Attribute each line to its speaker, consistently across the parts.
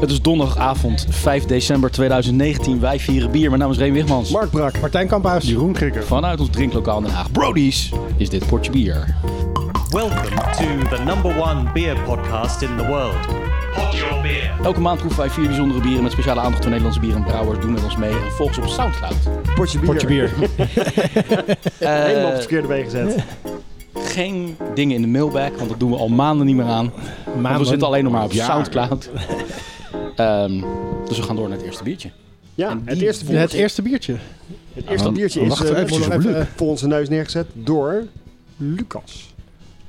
Speaker 1: Het is donderdagavond, 5 december 2019. Wij vieren bier. Mijn naam is Reen Wigmans.
Speaker 2: Mark Brak, Martijn Kamphuis, Jeroen Krikker.
Speaker 1: Vanuit ons drinklokaal in Den Haag, Brody's, is dit Portje Bier.
Speaker 3: Welcome to the number one beer podcast in the world. Pod your beer.
Speaker 1: Elke maand proeven wij vier bijzondere bieren met speciale aandacht voor Nederlandse bieren en brouwers. Doe met ons mee en volg ons op Soundcloud.
Speaker 2: Portje bier. Portje bier. Helemaal op het verkeerde been gezet.
Speaker 1: Geen dingen in de mailbag, want dat doen we al maanden niet meer aan. Maar we zitten alleen nog maar op
Speaker 2: Jaar.
Speaker 1: Soundcloud. Ehm, dus we gaan door naar het eerste biertje.
Speaker 4: Ja,
Speaker 1: En
Speaker 4: het
Speaker 1: die
Speaker 4: eerste,
Speaker 2: Het
Speaker 4: biertje, het,
Speaker 2: eerste biertje.
Speaker 4: eerste
Speaker 1: dan-
Speaker 4: biertje
Speaker 2: dan
Speaker 4: is
Speaker 2: wachten we
Speaker 4: eh,
Speaker 2: eventjes
Speaker 4: nog
Speaker 2: op
Speaker 4: even
Speaker 2: Luc.
Speaker 4: voor onze neus neergezet door Lucas.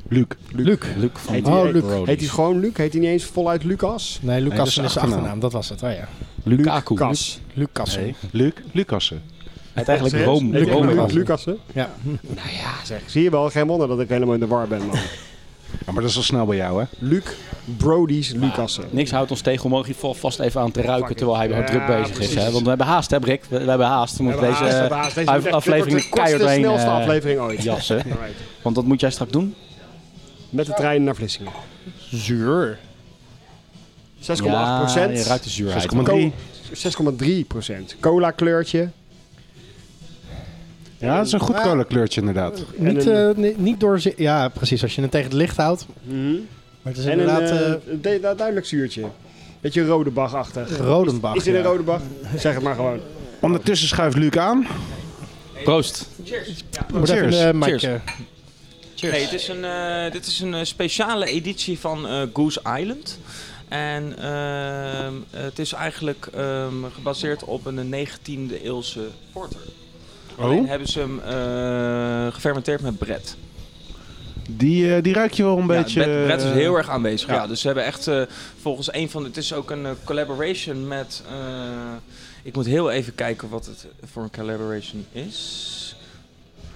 Speaker 2: Luc. Luc.
Speaker 1: Luc van
Speaker 4: Heet,
Speaker 2: Oh,
Speaker 4: hij,
Speaker 2: Luc.
Speaker 1: Brody's.
Speaker 4: heet hij gewoon Luc? Heet hij niet eens voluit Lucas?
Speaker 2: Nee, Lucas is
Speaker 5: dat is
Speaker 2: zijn
Speaker 5: de achternaam.
Speaker 2: achternaam. Dat was het. Oh ja.
Speaker 1: Lukaku. Hij
Speaker 4: Lucas.
Speaker 2: Lucas.
Speaker 5: Luc Lucassen.
Speaker 1: heet eigenlijk Rome.
Speaker 4: Heet hij
Speaker 2: oh,
Speaker 1: Rome-
Speaker 4: Luc
Speaker 1: Rome-
Speaker 4: Lucas, hè?
Speaker 2: Ja.
Speaker 4: Ja, zeg, zie je wel, geen wonder dat ik helemaal in de war ben, man.
Speaker 5: Ja, maar dat is al snel bij jou, hè?
Speaker 4: Luc Brody's Lucassen.
Speaker 1: Niks houdt ons tegen om er in ieder geval vast even aan te ruiken terwijl hij
Speaker 4: Ja,
Speaker 1: druk bezig is.
Speaker 4: precies.
Speaker 1: Hè? Want we hebben haast, hè Brik? We, we hebben haast. We moeten deze, eh, af- aflevering
Speaker 4: Dit wordt de
Speaker 1: keihard
Speaker 4: kortste,
Speaker 1: heen
Speaker 4: snelste
Speaker 1: eh,
Speaker 4: aflevering ooit.
Speaker 1: jassen.
Speaker 4: Alright.
Speaker 1: Want dat moet jij straks doen. 6,8
Speaker 4: Met de trein naar Vlissingen.
Speaker 2: Zuur.
Speaker 4: 6,8 procent.
Speaker 1: Je ruikt de zuurheid.
Speaker 5: 6,3.
Speaker 4: 6,3 procent. Cola kleurtje.
Speaker 5: Ja, dat is een goed cola kleurtje inderdaad.
Speaker 2: Niet,
Speaker 4: een-
Speaker 2: eh, ni- niet door... Ja, precies. Als je het tegen het licht houdt. Maar het is
Speaker 4: En een
Speaker 2: inderdaad... Mhm. eh,
Speaker 4: eh, een du- du- duidelijk zuurtje. Beetje rode achtig
Speaker 2: Rodenbach.
Speaker 4: Is dit een
Speaker 2: ja.
Speaker 4: rode bag? Zeg het maar gewoon.
Speaker 5: Ondertussen schuift Luc aan.
Speaker 1: Proost.
Speaker 2: Moet even
Speaker 5: Cheers.
Speaker 2: een, eh, mic,
Speaker 1: Cheers.
Speaker 2: eh,
Speaker 6: Nee, dit is een, eh, dit is een eh, speciale editie van eh, Goose Island. En ehm, het is eigenlijk ehm, gebaseerd op een 19e eeuwse porter.
Speaker 5: Oh?
Speaker 6: Alleen hebben ze hem eh, gefermenteerd met bret.
Speaker 5: Die, eh, die ruik je wel een
Speaker 6: Ja,
Speaker 5: beetje...
Speaker 6: bret, bret is heel
Speaker 5: eh,
Speaker 6: erg aanwezig. Ja.
Speaker 5: ja.
Speaker 6: dus ze hebben echt eh, volgens een van... Het is ook een eh, collaboration met... eh, ik moet heel even kijken wat het voor een collaboration is.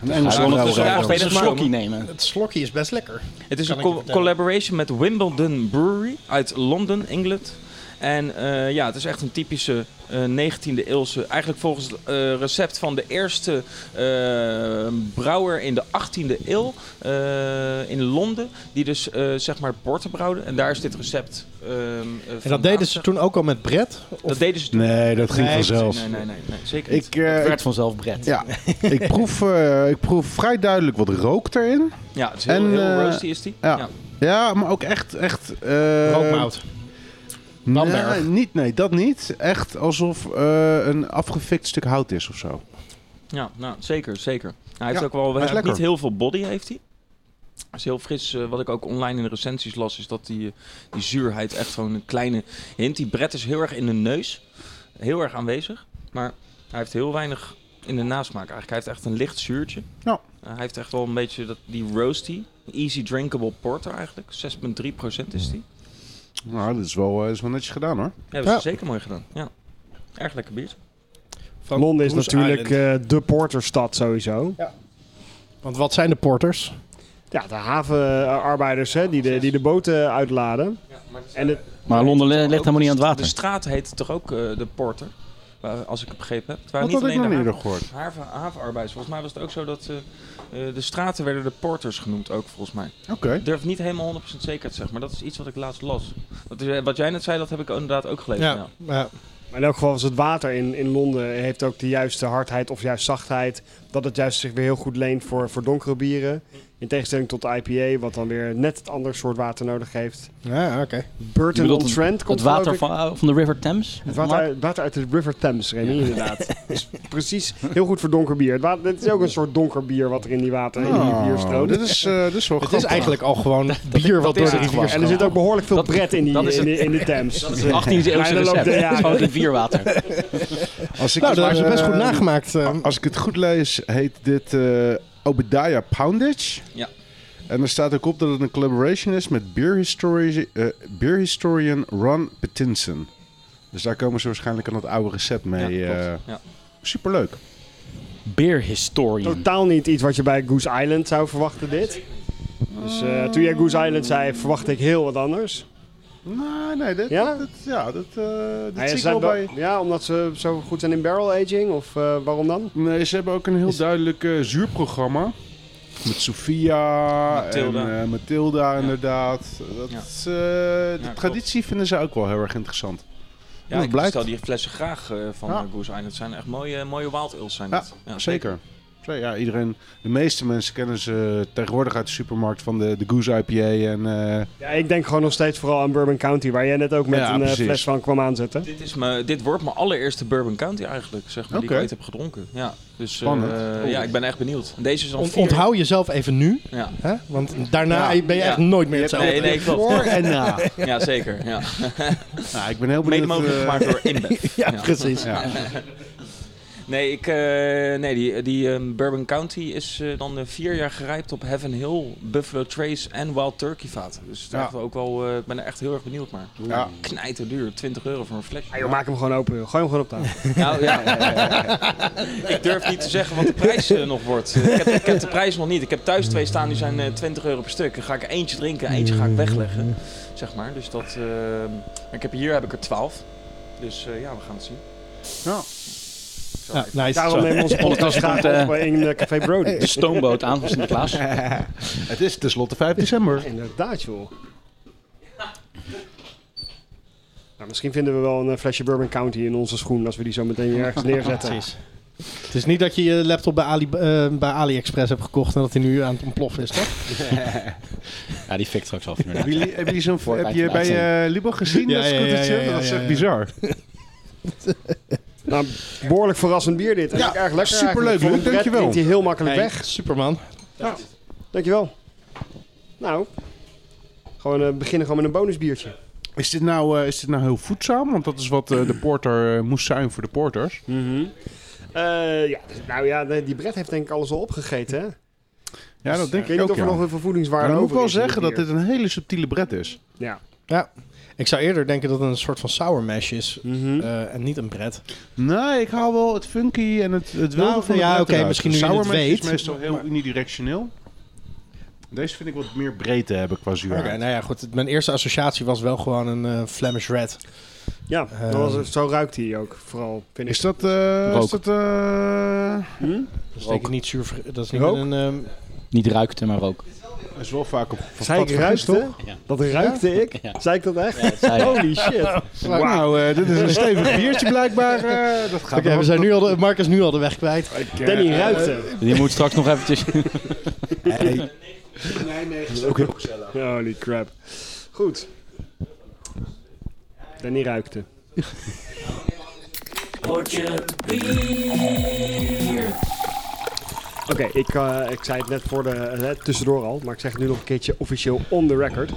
Speaker 5: Een
Speaker 1: Hij
Speaker 5: Engelse
Speaker 1: wil
Speaker 5: vrouw.
Speaker 1: ondertussen
Speaker 6: ondertussen
Speaker 1: nog
Speaker 6: eigenlijk
Speaker 1: steeds een
Speaker 6: maar-
Speaker 1: slokje nemen.
Speaker 2: Het slokje is best lekker.
Speaker 6: Het is
Speaker 2: Kan
Speaker 6: een
Speaker 2: ik je
Speaker 6: co-
Speaker 2: vertellen.
Speaker 6: collaboration met Wimbledon Brewery uit Londen, Engeland. En eh, ja, het is echt een typische eh, 19e eeuwse. Eigenlijk volgens het eh, recept van de eerste eh, brouwer in de 18e eeuw eh, in Londen. Die dus eh, zeg maar porter brouwde. En daar is dit recept. ehm, eh,
Speaker 2: En
Speaker 6: vandaan.
Speaker 2: dat deden ze toen ook al met Brett.
Speaker 6: Dat deden ze toen.
Speaker 5: Nee, dat ging
Speaker 2: Nee,
Speaker 5: vanzelf.
Speaker 6: Nee, nee, nee, nee, zeker niet.
Speaker 5: Ik, eh, ik,
Speaker 1: Werd vanzelf Brett.
Speaker 5: ja, ik, proef, eh, ik proef vrij duidelijk wat rook erin.
Speaker 6: ja, het is heel,
Speaker 5: en,
Speaker 6: heel
Speaker 5: eh,
Speaker 6: roasty is die.
Speaker 5: ja. Ja, maar ook echt... echt eh,
Speaker 2: Rookmout.
Speaker 5: Nee, niet, nee, dat niet. Echt alsof eh, een afgefikt stuk hout is of zo.
Speaker 6: Ja, nou, zeker, zeker. Hij heeft
Speaker 5: Ja,
Speaker 6: ook wel
Speaker 5: hij is
Speaker 6: hij heeft
Speaker 5: lekker.
Speaker 6: niet heel veel body, heeft hij. Hij is heel fris. Eh, wat ik ook online in de recensies las, is dat die, eh, die zuurheid echt gewoon een kleine hint. Die bret is heel erg in de neus. Heel erg aanwezig. Maar hij heeft heel weinig in de nasmaak eigenlijk. Hij heeft echt een licht zuurtje.
Speaker 5: Ja.
Speaker 6: Eh, hij heeft echt wel een beetje dat, die roasty. Easy drinkable porter eigenlijk. 6,3% is die.
Speaker 5: Nou, dat is wel, eh, is wel netjes gedaan hoor.
Speaker 6: Ja, dat is
Speaker 2: Ja.
Speaker 6: zeker mooi gedaan. Ja. Erg lekker biertje.
Speaker 2: Van
Speaker 4: Londen is
Speaker 2: Goose
Speaker 4: natuurlijk
Speaker 2: Island.
Speaker 4: eh, de porterstad sowieso.
Speaker 2: Want wat zijn de porters?
Speaker 4: Ja, de havenarbeiders hè, die, de, die de boten uitladen. En het,
Speaker 1: Maar Londen li- ligt
Speaker 6: Ook
Speaker 1: helemaal niet aan het
Speaker 6: De
Speaker 1: water.
Speaker 6: straat heet toch ook eh, de porter? Waar- Als ik het begrepen heb. Het waren
Speaker 5: Dat
Speaker 6: niet
Speaker 5: had ik
Speaker 6: alleen
Speaker 5: nog
Speaker 6: de
Speaker 5: niet eerder
Speaker 6: haven-
Speaker 5: gehoord.
Speaker 6: haven, havenarbeiders. Volgens mij was het ook zo dat eh, eh, de straten werden de porters genoemd ook, volgens mij.
Speaker 5: Oké.
Speaker 6: Ik durf niet helemaal 100% zeker te zeggen, maar dat is iets wat ik laatst las. Dat is, eh, wat jij net zei, dat heb ik inderdaad ook gelezen. Ja.
Speaker 2: ja.
Speaker 4: maar in elk geval is het water in, in Londen heeft ook de juiste hardheid of juist zachtheid. Dat het juist zich weer heel goed leent voor, voor donkere bieren. In tegenstelling tot de IPA, wat dan weer net het ander soort water nodig heeft.
Speaker 2: ja oké.
Speaker 1: Je
Speaker 4: Burton
Speaker 1: bedoelt
Speaker 4: on
Speaker 1: het-
Speaker 4: Trent komt
Speaker 1: Het water
Speaker 4: geloof ik.
Speaker 1: van, eh, van de River Thames?
Speaker 4: Het
Speaker 1: Mark?
Speaker 4: water, uit- water uit de River Thames, Remy, inderdaad. Is precies heel goed voor donker bier. Het, water, het is ook een soort donker bier wat er in die water in die
Speaker 1: Oh,
Speaker 4: bier stroomt.
Speaker 5: dit is, eh, dit is wel
Speaker 2: Het
Speaker 5: grappig.
Speaker 2: is eigenlijk al gewoon bier wat
Speaker 1: dat
Speaker 2: door
Speaker 1: is
Speaker 2: de
Speaker 1: het
Speaker 2: rivier
Speaker 1: gewoon.
Speaker 4: En er zit ook behoorlijk veel
Speaker 1: Dat-
Speaker 4: bret in die,
Speaker 1: dat is
Speaker 4: in,
Speaker 1: het-
Speaker 4: die- in de Thames. Dat
Speaker 1: 18e eeuwse recept. Het is gewoon rivierwater.
Speaker 5: Als ik,
Speaker 2: Nou, daar is het best
Speaker 5: eh,
Speaker 2: goed nagemaakt. eh.
Speaker 5: Als ik het goed lees, heet dit eh, Obadiah Poundage.
Speaker 6: Ja.
Speaker 5: En er staat ook op dat het een collaboration is met beer, histori- eh, beer historian Ron Pattinson. Dus daar komen ze waarschijnlijk aan dat oude recept mee.
Speaker 6: Ja,
Speaker 5: eh,
Speaker 6: klopt. Ja.
Speaker 5: superleuk.
Speaker 1: Beer historian.
Speaker 4: Totaal niet iets wat je bij Goose Island zou verwachten, dit. Dus eh, toen jij Goose Island zei, verwachtte ik heel wat anders.
Speaker 5: Nee, nee, dit,
Speaker 4: Ja? Nou
Speaker 5: ja? dit, ja, dit, eh, dit
Speaker 4: Ja,
Speaker 5: zie
Speaker 4: ze
Speaker 5: ik
Speaker 4: zijn
Speaker 5: wel
Speaker 4: wel-
Speaker 5: bij...
Speaker 4: ja, omdat ze zo goed zijn in barrel aging, of eh, waarom dan?
Speaker 5: Nee, ze hebben ook een heel duidelijk eh, zuurprogramma. Met Sofia en
Speaker 6: Mathilda.
Speaker 5: eh, Mathilda, inderdaad. Dat
Speaker 6: Ja.
Speaker 5: is, eh, de
Speaker 6: klopt.
Speaker 5: traditie vinden ze ook wel heel erg interessant.
Speaker 6: Ja, ik
Speaker 5: blijkt.
Speaker 6: stel die flessen graag eh, van
Speaker 5: Ja.
Speaker 6: ja. Goose Island. Het zijn echt mooie, eh, mooie wild ales zijn
Speaker 5: Ja,
Speaker 6: dat. Ja,
Speaker 5: Zeker. Zeker. Ja, iedereen, de meeste mensen kennen ze tegenwoordig uit de supermarkt van de, de Goose IPA. En, eh,
Speaker 4: Ja, ik denk gewoon nog steeds vooral aan Bourbon County, waar jij net ook met
Speaker 5: Ja,
Speaker 4: een eh,
Speaker 5: precies.
Speaker 4: fles van kwam aanzetten.
Speaker 6: Dit, is me, dit wordt mijn allereerste Bourbon County eigenlijk, zeg maar, die
Speaker 5: Oké.
Speaker 6: ik ooit heb gedronken. Ja, dus eh,
Speaker 5: Spannend.
Speaker 6: ja, ik ben echt benieuwd. Deze is al
Speaker 7: On-
Speaker 6: vier.
Speaker 7: onthoud jezelf even nu,
Speaker 6: Ja,
Speaker 7: hè? want daarna
Speaker 5: Ja.
Speaker 7: ben je
Speaker 6: Ja.
Speaker 7: echt nooit meer
Speaker 5: Je hebt-
Speaker 7: hetzelfde.
Speaker 6: nee, nee, klopt.
Speaker 5: voor en na.
Speaker 6: ja zeker. Ja.
Speaker 5: nou, ik ben heel
Speaker 6: Mede
Speaker 5: benieuwd.
Speaker 6: mogelijk
Speaker 5: eh,
Speaker 6: gemaakt door InBev.
Speaker 7: Ja,
Speaker 6: Ja.
Speaker 7: precies.
Speaker 5: ja.
Speaker 6: Nee, ik, eh, nee die, die eh, Bourbon County is eh, dan eh, vier jaar gerijpt op Heaven Hill, Buffalo Trace en Wild Turkey vaten. Dus het is
Speaker 5: Ja.
Speaker 6: echt ook wel, eh, ik ben er echt heel erg benieuwd naar.
Speaker 5: Ja.
Speaker 6: Knijter duur, 20 euro voor een flesje.
Speaker 4: Ja, Ah, joh, maak hem gewoon open. joh. Gooi hem gewoon op tafel.
Speaker 6: Nou ja, ik durf niet te zeggen wat de prijs eh, nog wordt. Eh, Ik heb, ik heb de prijs nog niet. Ik heb thuis twee staan, die zijn eh, 20 euro per stuk. Dan ga ik er eentje drinken, eentje ga ik wegleggen. Zeg maar, dus dat... eh, maar ik heb, hier heb ik er 12. Dus eh, ja, we gaan het zien.
Speaker 5: Ja.
Speaker 7: Ja, nice.
Speaker 4: Daarom
Speaker 7: Zo.
Speaker 4: nemen we onze podcast
Speaker 1: Ondertussen
Speaker 4: graag
Speaker 1: komt, eh,
Speaker 4: op in eh, Café Brody.
Speaker 1: De stoomboot aan van Sinterklaas.
Speaker 5: Het is tenslotte 5 december.
Speaker 4: Inderdaad, joh. Nou, misschien vinden we wel een eh, flesje Bourbon County in onze schoen als we die zo meteen weer ergens neerzetten.
Speaker 7: Precies. Het is niet dat je je laptop bij, Ali, eh, bij AliExpress hebt gekocht en dat hij nu aan het ontploffen is, toch?
Speaker 1: Ja, die fikt straks af
Speaker 5: Hebben
Speaker 1: inderdaad.
Speaker 5: jullie, hebben jullie zo'n
Speaker 1: Wordt
Speaker 5: heb je bij
Speaker 1: eigenlijk
Speaker 5: eh Libo gezien
Speaker 7: Ja,
Speaker 5: dat
Speaker 7: ja, ja,
Speaker 5: scootertje?
Speaker 7: ja, ja,
Speaker 5: dat is
Speaker 7: ja,
Speaker 5: echt
Speaker 7: ja.
Speaker 5: bizar.
Speaker 4: Nou, behoorlijk verrassend bier dit. En
Speaker 5: Ja,
Speaker 4: ook erg lekker
Speaker 5: superleuk,
Speaker 4: eigenlijk. Voor
Speaker 5: Luc,
Speaker 4: een pret
Speaker 5: dankjewel.
Speaker 4: drinkt hij heel makkelijk weg.
Speaker 7: Superman.
Speaker 4: Dankjewel. Nou, gewoon eh, beginnen gewoon met een bonusbiertje.
Speaker 5: Is dit, nou, eh, is dit nou heel voedzaam? Want dat is wat eh, de porter eh, moest zijn voor de porters.
Speaker 1: Mhm.
Speaker 4: Eh, ja, dus- nou ja, de- die Brett heeft denk ik alles al opgegeten, hè?
Speaker 5: Ja, dat denk
Speaker 4: Ik weet
Speaker 5: ik
Speaker 4: niet
Speaker 5: ook,
Speaker 4: of er
Speaker 5: ja.
Speaker 4: nog een vervoedingswaarde
Speaker 5: Maar dan moet ik
Speaker 4: over
Speaker 5: wel
Speaker 4: is in
Speaker 5: zeggen dat dit
Speaker 4: bier.
Speaker 5: een hele subtiele bret is.
Speaker 4: Ja.
Speaker 7: Ja. Ik zou eerder denken dat het een soort van sour mash is
Speaker 4: Mhm.
Speaker 7: eh, en niet een pret.
Speaker 5: Nee, ik hou wel het funky en het, het wilde
Speaker 7: Nou,
Speaker 5: van de
Speaker 7: ja,
Speaker 5: bret
Speaker 7: oké,
Speaker 5: eruit.
Speaker 7: misschien nu je het
Speaker 5: Sour mash
Speaker 7: weet,
Speaker 5: is meestal heel unidirectioneel. Deze vind ik wat meer breedte hebben qua
Speaker 7: Oké,
Speaker 5: zuurheid.
Speaker 7: nou ja, goed. Mijn eerste associatie was wel gewoon een eh, Flemish Red.
Speaker 4: Ja, dat was het- zo ruikt hij ook vooral, vind ik.
Speaker 5: Eh, Is dat... eh
Speaker 1: Rook.
Speaker 5: is dat eh,
Speaker 7: Dat is denk ik niet zuur. Dat is niet
Speaker 4: Rook?
Speaker 7: een... ehm,
Speaker 1: Niet ruikte, maar ook.
Speaker 5: is wel vaak op...
Speaker 4: Zij ik ruikte?
Speaker 1: Ja.
Speaker 4: Dat ruikte ik?
Speaker 1: Ja.
Speaker 4: Zei ik dat echt?
Speaker 1: zei je.
Speaker 4: Holy shit.
Speaker 5: Wauw, eh, dit is een stevig biertje blijkbaar. eh, dat gaat
Speaker 7: Nou,
Speaker 5: eh,
Speaker 7: Oké, we zijn nu al de, Mark is nu al de weg kwijt.
Speaker 4: Danny ruikte.
Speaker 1: Die moet straks nog eventjes...
Speaker 4: Holy crap. Goed. Danny ruikte. Oké, ik, eh, ik zei het net voor de, eh, tussendoor al, maar ik zeg het nu nog een keertje officieel on the record.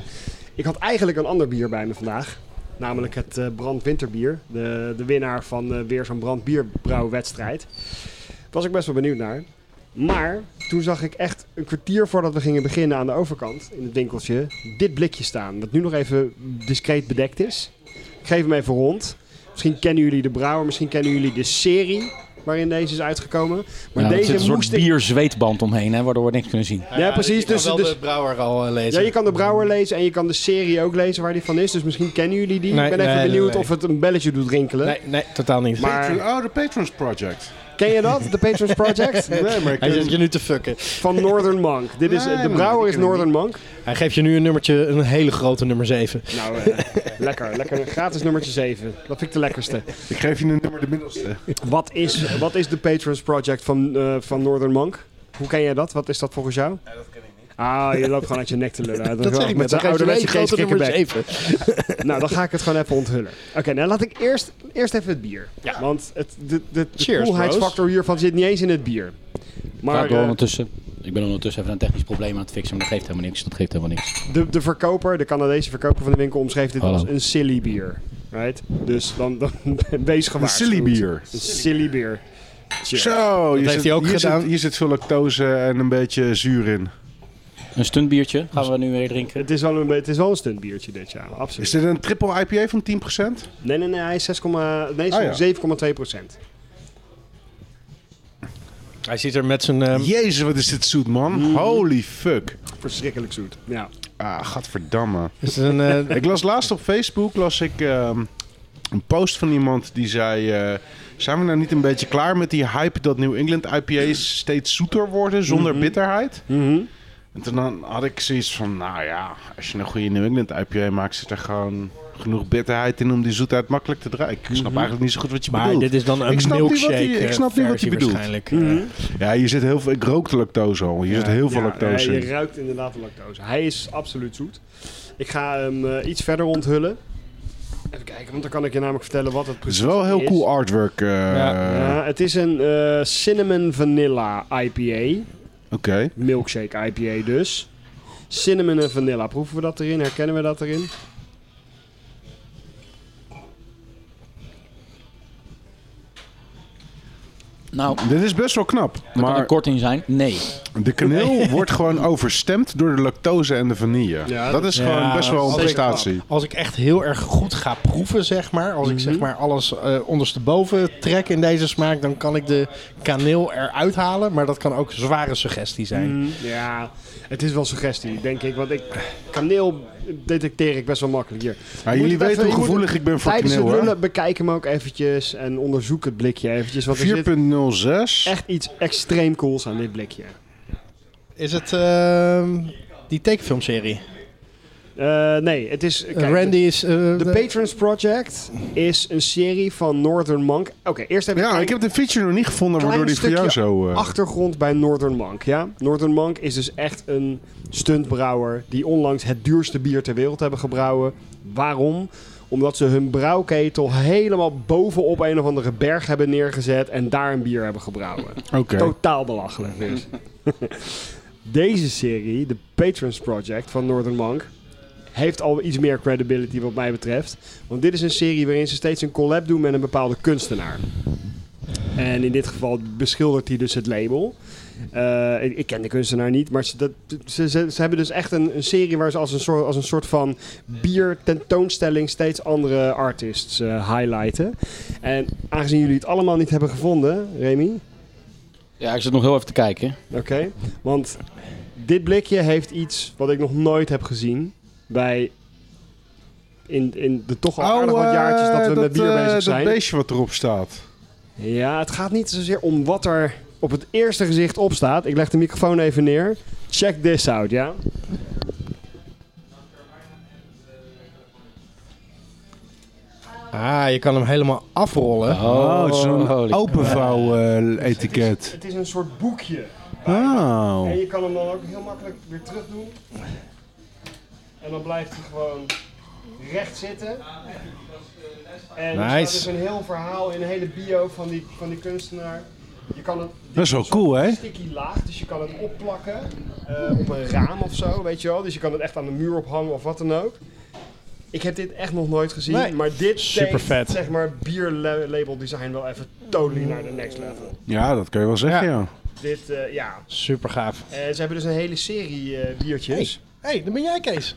Speaker 4: Ik had eigenlijk een ander bier bij me vandaag. Namelijk het eh, brandwinterbier. De, de winnaar van eh, weer zo'n brandbierbrouwwedstrijd. Daar was ik best wel benieuwd naar. Maar toen zag ik echt een kwartier voordat we gingen beginnen aan de overkant, in het winkeltje, dit blikje staan. Dat nu nog even discreet bedekt is. Ik geef hem even rond. Misschien kennen jullie de brouwer, misschien kennen jullie de serie waarin deze is uitgekomen. Maar
Speaker 1: Ja, er
Speaker 4: deze
Speaker 1: zit een soort
Speaker 4: moest ik
Speaker 1: bierzweetband omheen, hè, waardoor we niks kunnen zien.
Speaker 4: Ja, precies.
Speaker 7: Dus,
Speaker 4: Dus,
Speaker 7: wel
Speaker 4: dus,
Speaker 7: de brouwer al eh,
Speaker 4: ja,
Speaker 7: lezen.
Speaker 4: je kan de brouwer lezen en je kan de serie ook lezen waar die van is. Dus misschien kennen jullie die.
Speaker 7: Nee,
Speaker 4: ik ben even
Speaker 7: nee,
Speaker 4: benieuwd
Speaker 7: nee.
Speaker 4: of het een belletje doet rinkelen.
Speaker 7: Nee, nee, totaal niet.
Speaker 4: Maar
Speaker 5: Patron- oh, de Patrons Project.
Speaker 4: ken je dat? De Patrons Project?
Speaker 5: Nee, maar ik
Speaker 7: Hij
Speaker 5: ken-
Speaker 7: zit je nu te fucken.
Speaker 4: Van Northern Monk. Dit is, eh,
Speaker 5: Nee,
Speaker 4: de
Speaker 5: man,
Speaker 4: brouwer
Speaker 5: die
Speaker 4: is
Speaker 5: ken ik
Speaker 4: Northern Monk.
Speaker 7: Hij geeft je nu een nummertje, een hele grote nummer 7.
Speaker 4: Nou, eh, lekker. Lekker. Gratis nummertje 7. Dat vind ik de lekkerste.
Speaker 5: ik geef je een nummer de middelste.
Speaker 4: Wat is, wat is de Patrons Project van, eh, van Northern Monk? Hoe ken jij dat? Wat is dat volgens jou? dat ken ik niet. Ah, je loopt gewoon uit je nek te lullen. Dat, is wel
Speaker 7: zeg ik net,
Speaker 4: zo'n
Speaker 7: hij geeft je een hele
Speaker 4: ouderwetse
Speaker 7: grote nummer
Speaker 4: geestkikkerbek.
Speaker 7: 7.
Speaker 4: Nou, dan ga ik het gewoon even onthullen. Oké, nou laat ik eerst, eerst even het bier. Want het, de, de, de
Speaker 7: Cheers,
Speaker 4: koelheidsfactor hiervan zit niet eens in het bier.
Speaker 1: Maar,
Speaker 4: Maar
Speaker 1: door
Speaker 4: eh,
Speaker 1: ondertussen, ik ben ondertussen even een technisch probleem aan het fixen, maar dat geeft helemaal niks. Dat geeft helemaal niks.
Speaker 4: de, de verkoper, de Canadese verkoper van de winkel, omschreef dit
Speaker 1: Hallo.
Speaker 4: als een silly bier. Right? Dus dan, dan wees
Speaker 5: Een
Speaker 4: gewaarschuwd.
Speaker 5: silly bier.
Speaker 4: Een silly bier. Cheers.
Speaker 5: Zo, hier
Speaker 7: heeft
Speaker 5: zit,
Speaker 7: hij ook
Speaker 5: hier
Speaker 7: gedaan.
Speaker 5: Zit, hier zit veel lactose en een beetje zuur in.
Speaker 1: Een stuntbiertje gaan we nu weer drinken.
Speaker 4: Het is, wel een, het is wel een stuntbiertje dit jaar, absoluut.
Speaker 5: Is dit een triple IPA van 10%?
Speaker 4: Nee, nee, nee, hij is 6, nee,
Speaker 5: Ah, ja.
Speaker 4: 7,2 procent.
Speaker 7: Hij zit er met zijn... ehm,
Speaker 5: Jezus, wat is dit zoet, man.
Speaker 7: Mm.
Speaker 5: Holy fuck.
Speaker 4: Verschrikkelijk zoet. Ja.
Speaker 5: Ah, gadverdamme.
Speaker 7: is het een, eh,
Speaker 5: Ik las laatst op Facebook las ik, ehm, een post van iemand die zei... eh, zijn we nou niet een beetje klaar met die hype dat New England IPA's steeds zoeter worden zonder bitterheid?
Speaker 4: Mhm.
Speaker 5: En toen dan had ik zoiets van, nou ja, als je een goede New England IPA maakt, zit er gewoon genoeg bitterheid in om die zoetheid makkelijk te draaien. Ik snap
Speaker 7: Mhm.
Speaker 5: eigenlijk niet zo goed wat je
Speaker 7: maar
Speaker 5: bedoelt.
Speaker 7: dit is dan een
Speaker 5: Ik snap niet wat
Speaker 7: milkshake.
Speaker 5: hij- ik
Speaker 7: eh,
Speaker 5: snap niet wat
Speaker 7: versie
Speaker 5: hij bedoelt. Mm-hmm.
Speaker 7: Waarschijnlijk. eh.
Speaker 4: Mhm.
Speaker 5: Ja, hier zit heel veel. Ik rook de lactose al. Hier
Speaker 4: Ja,
Speaker 5: zit heel veel
Speaker 4: ja,
Speaker 5: lactose
Speaker 4: ja,
Speaker 5: in.
Speaker 4: je ruikt inderdaad de lactose. Hij is absoluut zoet. Ik ga hem eh, iets verder onthullen. Even kijken, want dan kan ik je namelijk vertellen wat het
Speaker 5: Het is
Speaker 4: precies
Speaker 5: wel heel cool artwork. eh,
Speaker 4: Ja, het is een eh, cinnamon vanilla IPA.
Speaker 5: Oké.
Speaker 4: Milkshake IPA dus. Cinnamon en vanilla. Proeven we dat erin? Herkennen we dat erin?
Speaker 1: Nou,
Speaker 5: Dit is best wel knap.
Speaker 1: maar... kan
Speaker 5: Maar
Speaker 1: een korting zijn? Nee.
Speaker 5: de kaneel wordt gewoon overstemd door de lactose en de vanille.
Speaker 4: Ja,
Speaker 5: dat is
Speaker 7: ja,
Speaker 5: gewoon best wel een
Speaker 7: zeker.
Speaker 5: prestatie.
Speaker 7: Als ik echt heel erg goed ga proeven, zeg maar. Als ik
Speaker 5: Mm-hmm.
Speaker 7: zeg maar alles eh, ondersteboven trek in deze smaak, dan kan ik de kaneel eruit halen. Maar dat kan ook zware suggestie zijn.
Speaker 5: Mm-hmm. Hmm.
Speaker 4: Mm, ja, het is wel suggestie, denk ik. Want ik, kaneel detecteer ik best wel makkelijk hier.
Speaker 5: Maar
Speaker 4: Moet
Speaker 5: jullie
Speaker 4: het even-
Speaker 5: weten
Speaker 4: je
Speaker 5: hoe
Speaker 4: moet
Speaker 5: gevoelig ik ben voor
Speaker 4: Tijdens het
Speaker 5: kaneel, hè?
Speaker 4: lullen bekijk hem ook eventjes en onderzoek het blikje eventjes. Want er zit
Speaker 5: 4,06.
Speaker 4: echt iets extreem cools aan dit blikje.
Speaker 7: Is het ehm, die tekenfilmserie?
Speaker 4: Eh, nee, het is... kijk,
Speaker 7: Randy is... eh,
Speaker 4: The Patrons Project is een serie van Northern Monk. Oké, eerst even
Speaker 5: Ja,
Speaker 4: een
Speaker 5: ik heb de feature nog niet gevonden
Speaker 4: Klein
Speaker 5: waardoor die voor jou
Speaker 4: stukje
Speaker 5: zo... eh,
Speaker 4: achtergrond bij Northern Monk. Ja? Northern Monk is dus echt een stuntbrouwer die onlangs het duurste bier ter wereld hebben gebrouwen. Waarom? Omdat ze hun brouwketel helemaal bovenop een of andere berg hebben neergezet en daar een bier hebben gebrouwen.
Speaker 5: Oké.
Speaker 4: Totaal belachelijk dus. Deze serie, de Patrons Project van Northern Monk, heeft al iets meer credibility wat mij betreft. Want dit is een serie waarin ze steeds een collab doen met een bepaalde kunstenaar. En in dit geval beschildert hij dus het label. Eh, ik, ik ken de kunstenaar niet, maar ze, dat, ze, ze, ze hebben dus echt een, een serie waar ze als een soort, als een soort van biertentoonstelling steeds andere artists eh, highlighten. En aangezien jullie het allemaal niet hebben gevonden, Remy,
Speaker 1: Ja, ik zit nog heel even te kijken.
Speaker 4: Oké, want dit blikje heeft iets wat ik nog nooit heb gezien bij in, in de toch al aardig wat
Speaker 5: eh,
Speaker 4: jaartjes Oh, dat we met bier
Speaker 5: eh,
Speaker 4: bezig zijn.
Speaker 5: Dat beestje wat erop staat.
Speaker 4: Ja, het gaat niet zozeer om wat er op het eerste gezicht op staat. Ik leg de microfoon even neer. Check this out, ja?
Speaker 7: ah, je kan hem helemaal afrollen.
Speaker 5: Oh, het is
Speaker 1: holy-
Speaker 5: een openvouw eh, etiket. Oh,
Speaker 4: Het is een soort boekje.
Speaker 5: Wauw.
Speaker 4: En je kan hem dan ook heel makkelijk weer terug doen. En dan blijft hij gewoon recht zitten. En er
Speaker 7: Nice.
Speaker 4: staat dus een heel verhaal in een hele bio van die, van die kunstenaar. Je kan het, dit
Speaker 5: Dat is wel
Speaker 4: een soort
Speaker 5: cool, hè?
Speaker 4: sticky laag, dus je kan het opplakken eh, op een raam of zo, weet je wel. Dus je kan het echt aan de muur ophangen of wat dan ook. Ik heb dit echt nog nooit gezien,
Speaker 7: Nee.
Speaker 4: maar dit
Speaker 7: Super vet.
Speaker 4: steekt, zeg maar bierlabel design wel even totally naar de next level.
Speaker 5: Ja, dat kun je wel zeggen, ja.
Speaker 4: Dit, eh, ja,
Speaker 7: Super gaaf.
Speaker 4: eh, ze hebben dus een hele serie eh, biertjes.
Speaker 7: Hé, hey, dan ben jij Kees.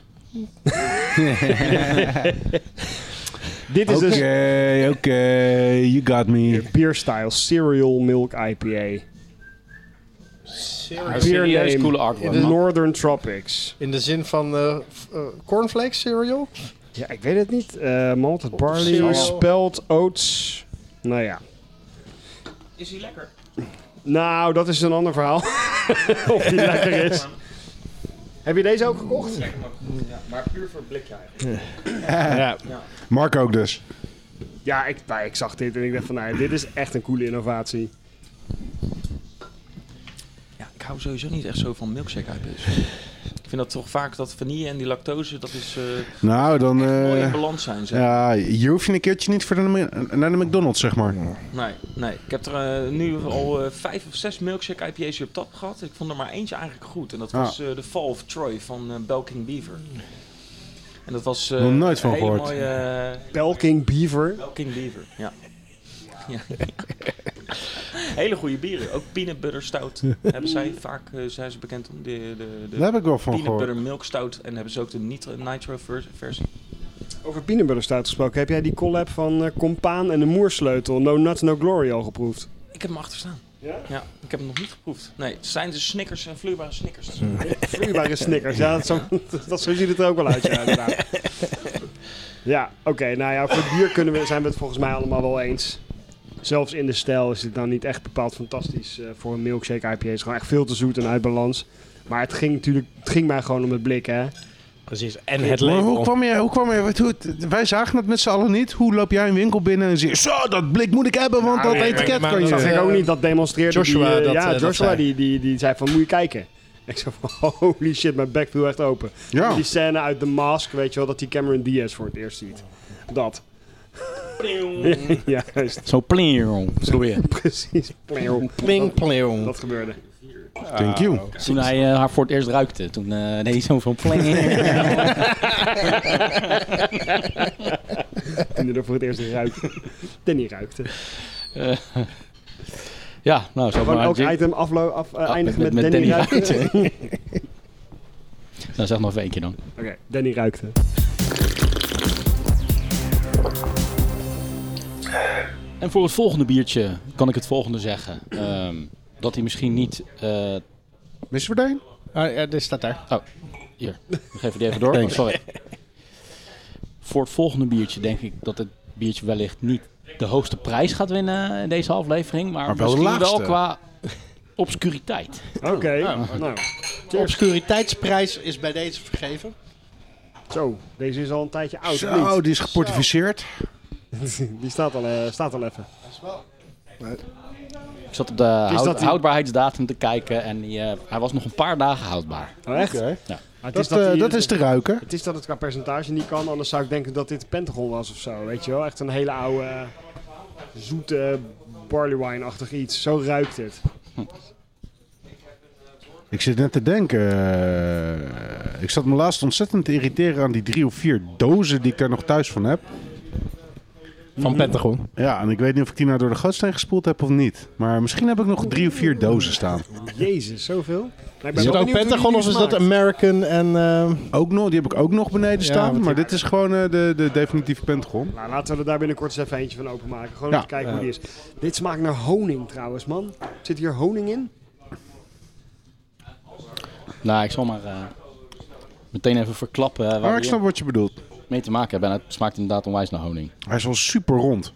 Speaker 4: Dit is
Speaker 5: Oké,
Speaker 4: dus
Speaker 5: oké, you got me.
Speaker 4: Beer Style Cereal Milk IPA.
Speaker 1: Een serieus
Speaker 4: name.
Speaker 1: coole
Speaker 4: In
Speaker 1: artwork,
Speaker 4: de
Speaker 1: man.
Speaker 4: Northern Tropics.
Speaker 7: In de zin van eh, f- eh, cornflakes cereal?
Speaker 4: Ja, ik weet het niet. Eh malted barley,
Speaker 7: cereal.
Speaker 4: spelt, oats. Nou ja.
Speaker 6: Is hij lekker?
Speaker 4: Nou, dat is een ander verhaal. of die lekker is. Heb je deze ook gekocht?
Speaker 6: Ja, maar puur voor het blikje eigenlijk.
Speaker 5: Mark ook dus.
Speaker 4: Ja, ik, nou, ik zag dit en ik dacht van, nou, dit is echt een coole innovatie.
Speaker 6: Ja, ik hou sowieso niet echt zo van milkshake IPA's. Ik vind dat toch vaak dat vanille en die lactose, dat is eh,
Speaker 5: Nou, dan...
Speaker 6: mooi in
Speaker 5: eh
Speaker 6: balans zijn. Zeg.
Speaker 5: ja, hier hoef je een keertje niet voor de, naar de McDonald's, zeg maar.
Speaker 6: Nee, nee, ik heb er eh, nu al eh, vijf of zes milkshake IPA's hier op tap gehad. Ik vond er maar eentje eigenlijk goed. En dat was eh The Fall of Troy van eh Belking Beaver. En dat was eh,
Speaker 5: Nog nooit van
Speaker 6: een hele
Speaker 5: gehoord.
Speaker 6: mooie eh,
Speaker 4: Belking Beaver.
Speaker 6: Belking Beaver, ja. ja. Hele goede bieren. Ook peanut butter stout hebben zij vaak, eh, zijn ze bekend om. De, de, de
Speaker 5: Daar heb ik wel van
Speaker 6: peanut
Speaker 5: gehoord.
Speaker 6: butter milk stout. En hebben ze ook de nitro, nitro vers- versie.
Speaker 4: Over peanut butter stout gesproken. Heb jij die collab van eh Compaan en de Moersleutel, No Nuts, No Glory, al geproefd?
Speaker 6: Ik heb hem achterstaan.
Speaker 4: Ja?
Speaker 6: Ja, ik heb hem nog niet geproefd. Nee, het zijn de snickers en vloeibare snickers.
Speaker 5: Hmm.
Speaker 4: Vloeibare Snickers. Ja, dat zo, dat, zo ziet het er ook wel uit. Ja, inderdaad. ja oké. nou ja, voor het bier kunnen we, zijn we het volgens mij allemaal wel eens. Zelfs in de stijl is het dan niet echt bepaald fantastisch eh, voor een milkshake IPA. Het is gewoon echt veel te zoet en uit balans. Maar het ging natuurlijk, het ging mij gewoon om het blik, hè.
Speaker 8: Precies. En het
Speaker 5: Maar hoe
Speaker 8: label.
Speaker 5: kwam je, hoe kwam je, wat- hoe, wij zagen het met z'n allen niet. Hoe loop jij een winkel binnen en zie je, zo, dat blik moet ik hebben, want dat
Speaker 7: nee, maar-
Speaker 5: etiket kan
Speaker 7: maar-
Speaker 5: je.
Speaker 7: maar-
Speaker 4: Zag ik
Speaker 7: eh,
Speaker 4: ook niet dat demonstreerde
Speaker 7: Joshua
Speaker 4: die, eh,
Speaker 7: dat, eh,
Speaker 4: ja,
Speaker 7: dat
Speaker 4: Joshua
Speaker 7: zei.
Speaker 4: die, die, die zei van, moet je kijken. Ik zei van, holy shit, mijn bek viel echt open.
Speaker 5: Ja.
Speaker 4: Die scène uit The Mask, weet je wel, dat die Cameron Diaz voor het eerst ziet. Dat. ja, juist.
Speaker 1: Zo pling, zo weer.
Speaker 4: Precies. Pleeuw.
Speaker 7: Pling, pling.
Speaker 4: Dat gebeurde.
Speaker 5: Thank you.
Speaker 1: Toen hij eh, haar voor het eerst ruikte. Toen eh deed hij zo van pling.
Speaker 4: Toen hij er voor het eerst in ruikte. Danny ruikte.
Speaker 1: ja, nou, zo
Speaker 4: Gewoon
Speaker 1: maar.
Speaker 4: elk
Speaker 1: Jim-
Speaker 4: item aflo- af, eh,
Speaker 1: Ah,
Speaker 4: eindigen met, Danny, ruikte.
Speaker 1: nou, zeg nog even één keer dan.
Speaker 4: Oké, Danny ruikte.
Speaker 1: En voor het volgende biertje kan ik het volgende zeggen. Ehm, dat hij misschien niet... eh,
Speaker 5: Mr. Verdijn?
Speaker 7: Ah, ja, dit staat daar.
Speaker 1: hier, we geven die even door. Oh, sorry. Voor het volgende biertje denk ik dat het biertje wellicht niet de hoogste prijs gaat winnen in deze aflevering. Maar,
Speaker 5: Maar wel de
Speaker 1: misschien wel
Speaker 5: laagste.
Speaker 1: qua obscuriteit.
Speaker 4: Oké, nou.
Speaker 7: De obscuriteitsprijs is bij deze vergeven.
Speaker 4: Zo, deze is al een tijdje oud. of niet?
Speaker 5: Zo, die is geportificeerd.
Speaker 4: Die staat al, eh, staat al even.
Speaker 1: Ik zat op de houd-
Speaker 4: dat die-
Speaker 1: houdbaarheidsdatum te kijken en die, eh, hij was nog een paar dagen houdbaar.
Speaker 4: Oh, echt?
Speaker 5: Oké.
Speaker 1: Ja.
Speaker 4: Maar het
Speaker 5: Dat,
Speaker 4: is dat,
Speaker 5: eh,
Speaker 4: die-
Speaker 5: dat is te ruiken.
Speaker 4: Het is dat het qua percentage niet kan, anders zou ik denken dat dit Pentagon was of zo. Weet je wel, echt een hele oude, eh, zoete barley wine-achtig iets. Zo ruikt het.
Speaker 5: Ik zit net te denken. eh, ik zat me laatst ontzettend te irriteren aan die drie of vier dozen die ik daar nog thuis van heb.
Speaker 7: Van Pentagon.
Speaker 5: Ja, en ik weet niet of ik die nou door de gootsteen gespoeld heb of niet. Maar misschien heb ik nog drie of vier dozen staan.
Speaker 4: Jezus, zoveel. Maar ik
Speaker 7: Is het
Speaker 4: wel
Speaker 7: ook
Speaker 4: benieuwd hoe die
Speaker 7: Pentagon
Speaker 4: nu
Speaker 7: of is dat
Speaker 4: smaakt.
Speaker 7: American en... ehm,
Speaker 5: Ook nog, die heb ik ook nog beneden
Speaker 7: Ja,
Speaker 5: staan.
Speaker 7: wat-
Speaker 5: maar dit is gewoon eh, de, de definitieve pentagon.
Speaker 4: Nou, laten we er daar binnenkort eens even eentje van openmaken. Gewoon
Speaker 5: Ja.
Speaker 4: even kijken hoe die is. Dit smaakt naar honing trouwens, man. Zit hier honing in?
Speaker 1: Nou, ik zal maar eh, meteen even verklappen eh,
Speaker 5: Maar
Speaker 1: waar
Speaker 5: Oh, ik
Speaker 1: we
Speaker 5: snap wat je bedoelt.
Speaker 1: mee te maken hebben. En het smaakt inderdaad onwijs naar honing.
Speaker 5: Hij is wel super rond.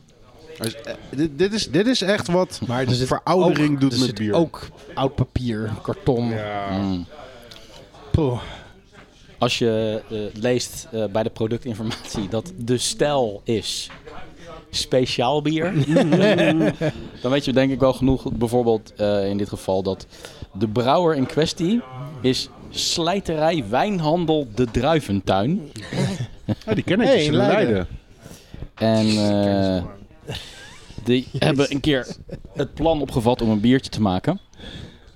Speaker 5: Hij is, eh, dit, dit, is, dit is echt wat
Speaker 7: Maar er zit
Speaker 5: veroudering
Speaker 7: Dus ook,
Speaker 5: doet
Speaker 7: er
Speaker 5: met
Speaker 7: zit
Speaker 5: bier.
Speaker 7: ook oud papier, karton. eh,
Speaker 1: Mm.
Speaker 7: Poeh.
Speaker 1: Als je eh, leest eh, bij de productinformatie dat de stijl is speciaal bier, dan weet je denk ik wel genoeg. Bijvoorbeeld eh, in dit geval dat de brouwer in kwestie is slijterij Wijnhandel de Druiventuin.
Speaker 5: Ja, die ken ik, die
Speaker 7: Hey,
Speaker 5: is in Leiden.
Speaker 7: Leiden.
Speaker 1: En eh, die hebben een keer het plan opgevat om een biertje te maken.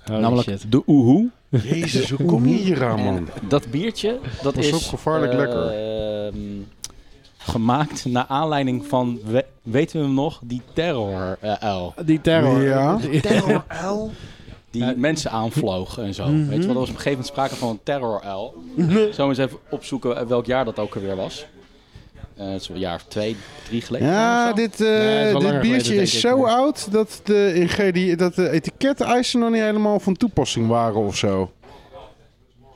Speaker 1: namelijk de Oehoe.
Speaker 5: Jezus, hoe kom je hier aan, man?
Speaker 1: Dat biertje, dat
Speaker 5: Was
Speaker 1: is...
Speaker 5: ook gevaarlijk
Speaker 1: eh,
Speaker 5: lekker.
Speaker 1: ehm, Gemaakt naar aanleiding van, we- weten we hem nog, die terror-L.
Speaker 7: Die terror.
Speaker 5: Ja.
Speaker 4: Terror-L?
Speaker 1: die mensen aanvloog en zo. Weet je wel, er was op een gegeven moment sprake van een terror-L. Zo eens even opzoeken eh, welk jaar dat ook alweer was. Eh het is een jaar of twee, drie geleden.
Speaker 5: Ja, dit, eh,
Speaker 7: het is wel
Speaker 5: dit
Speaker 7: langer
Speaker 5: biertje
Speaker 7: geleden,
Speaker 5: is
Speaker 7: denk ik,
Speaker 5: zo
Speaker 7: maar-
Speaker 5: oud dat de, ingrediënten, dat de etiketten nog niet helemaal van toepassing waren of zo.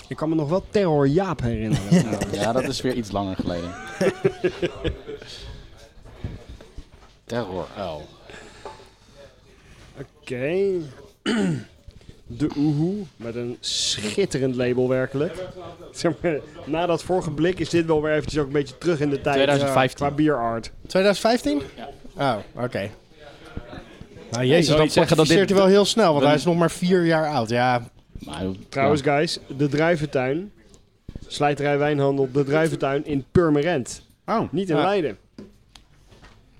Speaker 4: Ik kan me nog wel Terror Jaap herinneren. Nou,
Speaker 1: Ja, dat is weer iets langer geleden. Terror-L.
Speaker 4: Oké. De Oehoe, met een schitterend label werkelijk. Zeg maar, na dat vorige blik is dit wel weer eventjes ook een beetje terug in de tijd. eh,
Speaker 1: 2015.
Speaker 4: Qua bierart.
Speaker 7: 2015? Oh, oké. Nou, jezus,
Speaker 1: zou
Speaker 7: dan
Speaker 1: niet zeggen dat
Speaker 7: zeggen
Speaker 1: dit-
Speaker 7: hij wel heel snel, want
Speaker 1: we-
Speaker 7: hij is nog maar vier jaar oud. Ja,
Speaker 1: Maar,
Speaker 4: Trouwens, guys, de Druiventuin. Slijterij Wijnhandel, de Druiventuin in Purmerend.
Speaker 5: Oh,
Speaker 4: Niet in
Speaker 7: Ja.
Speaker 4: Leiden.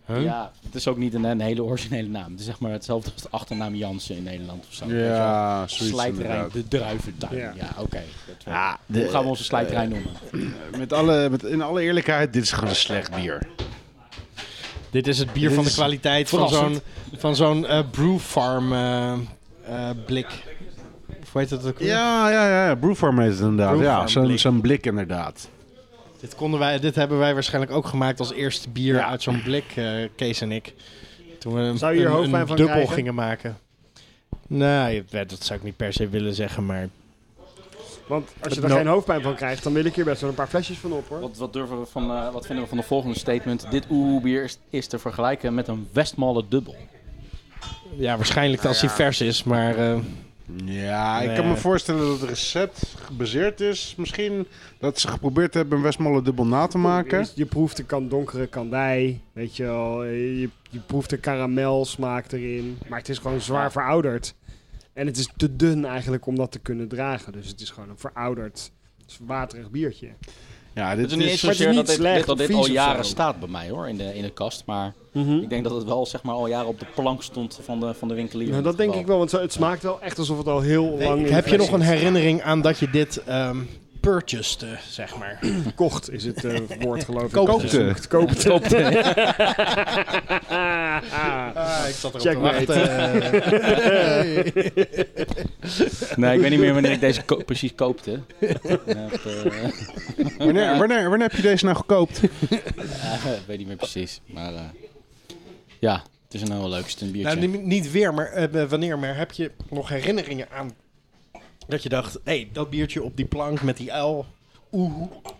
Speaker 1: Ja, het is ook niet een, een hele originele naam. Het is zeg maar hetzelfde als de achternaam Jansen in Nederland of zo. Weet je wel.
Speaker 5: ja, zoiets
Speaker 1: Slijterij
Speaker 5: inderdaad.
Speaker 1: de Druiventuin. Ja,
Speaker 4: Ja.
Speaker 1: oké. Dat wel. Hoe gaan we onze slijterij noemen?
Speaker 5: Met alle, met, in alle eerlijkheid, dit is gewoon een slecht bier.
Speaker 7: dit is het bier van de kwaliteit van zo'n van zo'n eh, brew farm eh, eh, blik. Of hoe heet dat ook? weer?
Speaker 5: Ja, ja, ja, ja. Brewfarm is het inderdaad.
Speaker 7: Brewfarm
Speaker 5: ja, zo'n
Speaker 7: blik.
Speaker 5: zo'n blik inderdaad.
Speaker 7: Dit, konden wij, dit hebben wij waarschijnlijk ook gemaakt als eerste bier uit zo'n blik, eh, Kees en ik. Toen we een,
Speaker 4: Zou je hier
Speaker 7: een-
Speaker 4: hoofdpijn
Speaker 7: een
Speaker 4: van
Speaker 7: dubbel
Speaker 4: krijgen?
Speaker 7: gingen maken. Nee, dat zou ik niet per se willen zeggen, maar...
Speaker 4: Want als je daar
Speaker 7: No.
Speaker 4: geen hoofdpijn van krijgt, dan wil ik hier best wel een paar flesjes van op hoor.
Speaker 1: Wat, wat, durven we van, eh, wat vinden we van de volgende statement? Dit Oehoe-bier is, is te vergelijken met een Westmalle dubbel.
Speaker 4: Nou
Speaker 7: Ja, waarschijnlijk als hij vers is, maar... eh,
Speaker 5: Ja, ik kan me voorstellen dat het recept gebaseerd is. Misschien dat ze geprobeerd hebben een Westmalle dubbel na te maken.
Speaker 4: Je, je proeft een kan donkere kandij, weet je wel. Eh, Je, je proeft de karamelsmaak erin. Maar het is gewoon zwaar verouderd. En het is te dun eigenlijk om dat te kunnen dragen. Dus het is gewoon een verouderd, waterig biertje.
Speaker 1: Mhm.
Speaker 5: Ja,
Speaker 1: Het
Speaker 5: dit
Speaker 1: is niet eens
Speaker 5: is...
Speaker 4: maar het is
Speaker 1: zozeer dat
Speaker 4: niet
Speaker 1: dit,
Speaker 4: slecht
Speaker 1: dit- dat
Speaker 4: of
Speaker 1: dit al
Speaker 4: vies of
Speaker 1: jaren
Speaker 4: zo.
Speaker 1: staat bij mij hoor, in de, in de kast. Maar ik denk dat het wel zeg maar, al jaren op de plank stond van de, van de winkelier.
Speaker 4: Nou, dat denk ik wel, want zo- het smaakt wel echt alsof het al heel lang... in de
Speaker 7: Heb je
Speaker 4: fles
Speaker 7: nog een
Speaker 4: zit.
Speaker 7: herinnering aan dat je dit ehm purchased, eh, zeg maar?
Speaker 4: Kocht is het eh, woord geloof ik.
Speaker 5: Koopte.
Speaker 4: Koopte. Koopte.
Speaker 7: ik zat
Speaker 4: Ah, erop te
Speaker 7: Nou, wachten.
Speaker 1: Nee, ik weet niet meer wanneer ik deze ko- precies koopte. Net, eh,
Speaker 5: wanneer, wanneer, wanneer heb je deze nou gekoopt?
Speaker 1: eh, ik weet niet meer precies. Maar eh, ja, het is een heel leuk een biertje.
Speaker 7: nou, niet, niet weer, maar eh, wanneer, maar heb je nog herinneringen aan dat je dacht, hé, hey, dat biertje op die plank met die uil, oeh.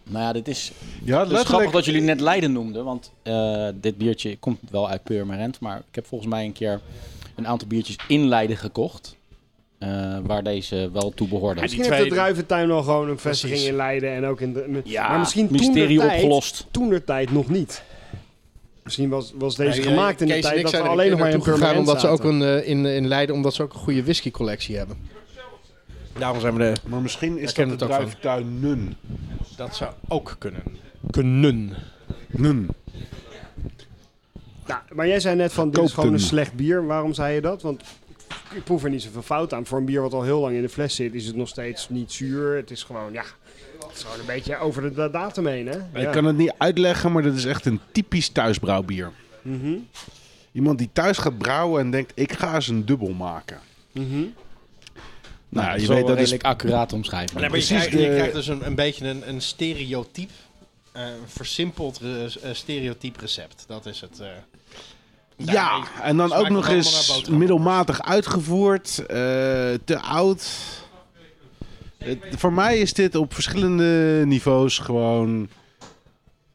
Speaker 1: Nou ja, dit is, het
Speaker 5: Ja,
Speaker 1: is grappig dat jullie net Leiden noemden. Want eh, dit biertje komt wel uit Purmerend. Maar ik heb volgens mij een keer een aantal biertjes in Leiden gekocht. eh, waar deze wel toe behoorde.
Speaker 4: Misschien heeft de druiventuin al gewoon een vestiging in Leiden en ook in de... maar misschien
Speaker 1: mysterie
Speaker 4: toentertijd-
Speaker 1: opgelost.
Speaker 4: toenertijd nog niet. Misschien was, was deze
Speaker 7: Nee,
Speaker 4: gemaakt in de
Speaker 7: Kees en
Speaker 4: tijd
Speaker 7: ik
Speaker 4: dat we
Speaker 7: zijn er
Speaker 4: alleen nog maar in
Speaker 7: naartoe gegaan
Speaker 4: Purmerend
Speaker 7: omdat ze ook
Speaker 4: zaten.
Speaker 7: een, eh, in, in Leiden omdat ze ook een goede whiskycollectie hebben. Daarom zijn we de...
Speaker 5: Maar misschien is
Speaker 7: Daar
Speaker 5: dat de
Speaker 7: kennen we het ook
Speaker 5: druiftuin Nun.
Speaker 7: Dat zou ook kunnen. Kunnen.
Speaker 5: Nun.
Speaker 4: Nou, maar jij zei net van, dit is
Speaker 5: Koopten.
Speaker 4: gewoon een slecht bier. Waarom zei je dat? Want ik proef er niet zoveel fout aan. Voor een bier wat al heel lang in de fles zit, is het nog steeds niet zuur. Het is gewoon, ja, het is gewoon een beetje over de da- datum heen, hè? Ja.
Speaker 5: Ik kan het niet uitleggen, maar dit is echt een typisch thuisbrouwbier.
Speaker 4: Mhm.
Speaker 5: Iemand die thuis gaat brouwen en denkt, ik ga eens een dubbel maken.
Speaker 4: Mhm.
Speaker 5: Nou,
Speaker 1: dat
Speaker 5: je
Speaker 1: is wel
Speaker 5: weet dat is...
Speaker 1: redelijk accuraat omschrijven.
Speaker 7: Nee, maar je,
Speaker 5: Precies
Speaker 7: krijgt,
Speaker 5: de-
Speaker 7: je krijgt dus een, een beetje een, een stereotyp, eh, een versimpeld re- eh, stereotyp recept. Dat is het. eh.
Speaker 5: Ja,
Speaker 7: Daarmee
Speaker 5: en dan
Speaker 7: smaakt
Speaker 5: ook
Speaker 7: het
Speaker 5: nog
Speaker 7: allemaal naar
Speaker 5: eens
Speaker 7: boterham.
Speaker 5: middelmatig uitgevoerd, eh, te oud. Het- voor mij is dit op verschillende niveaus gewoon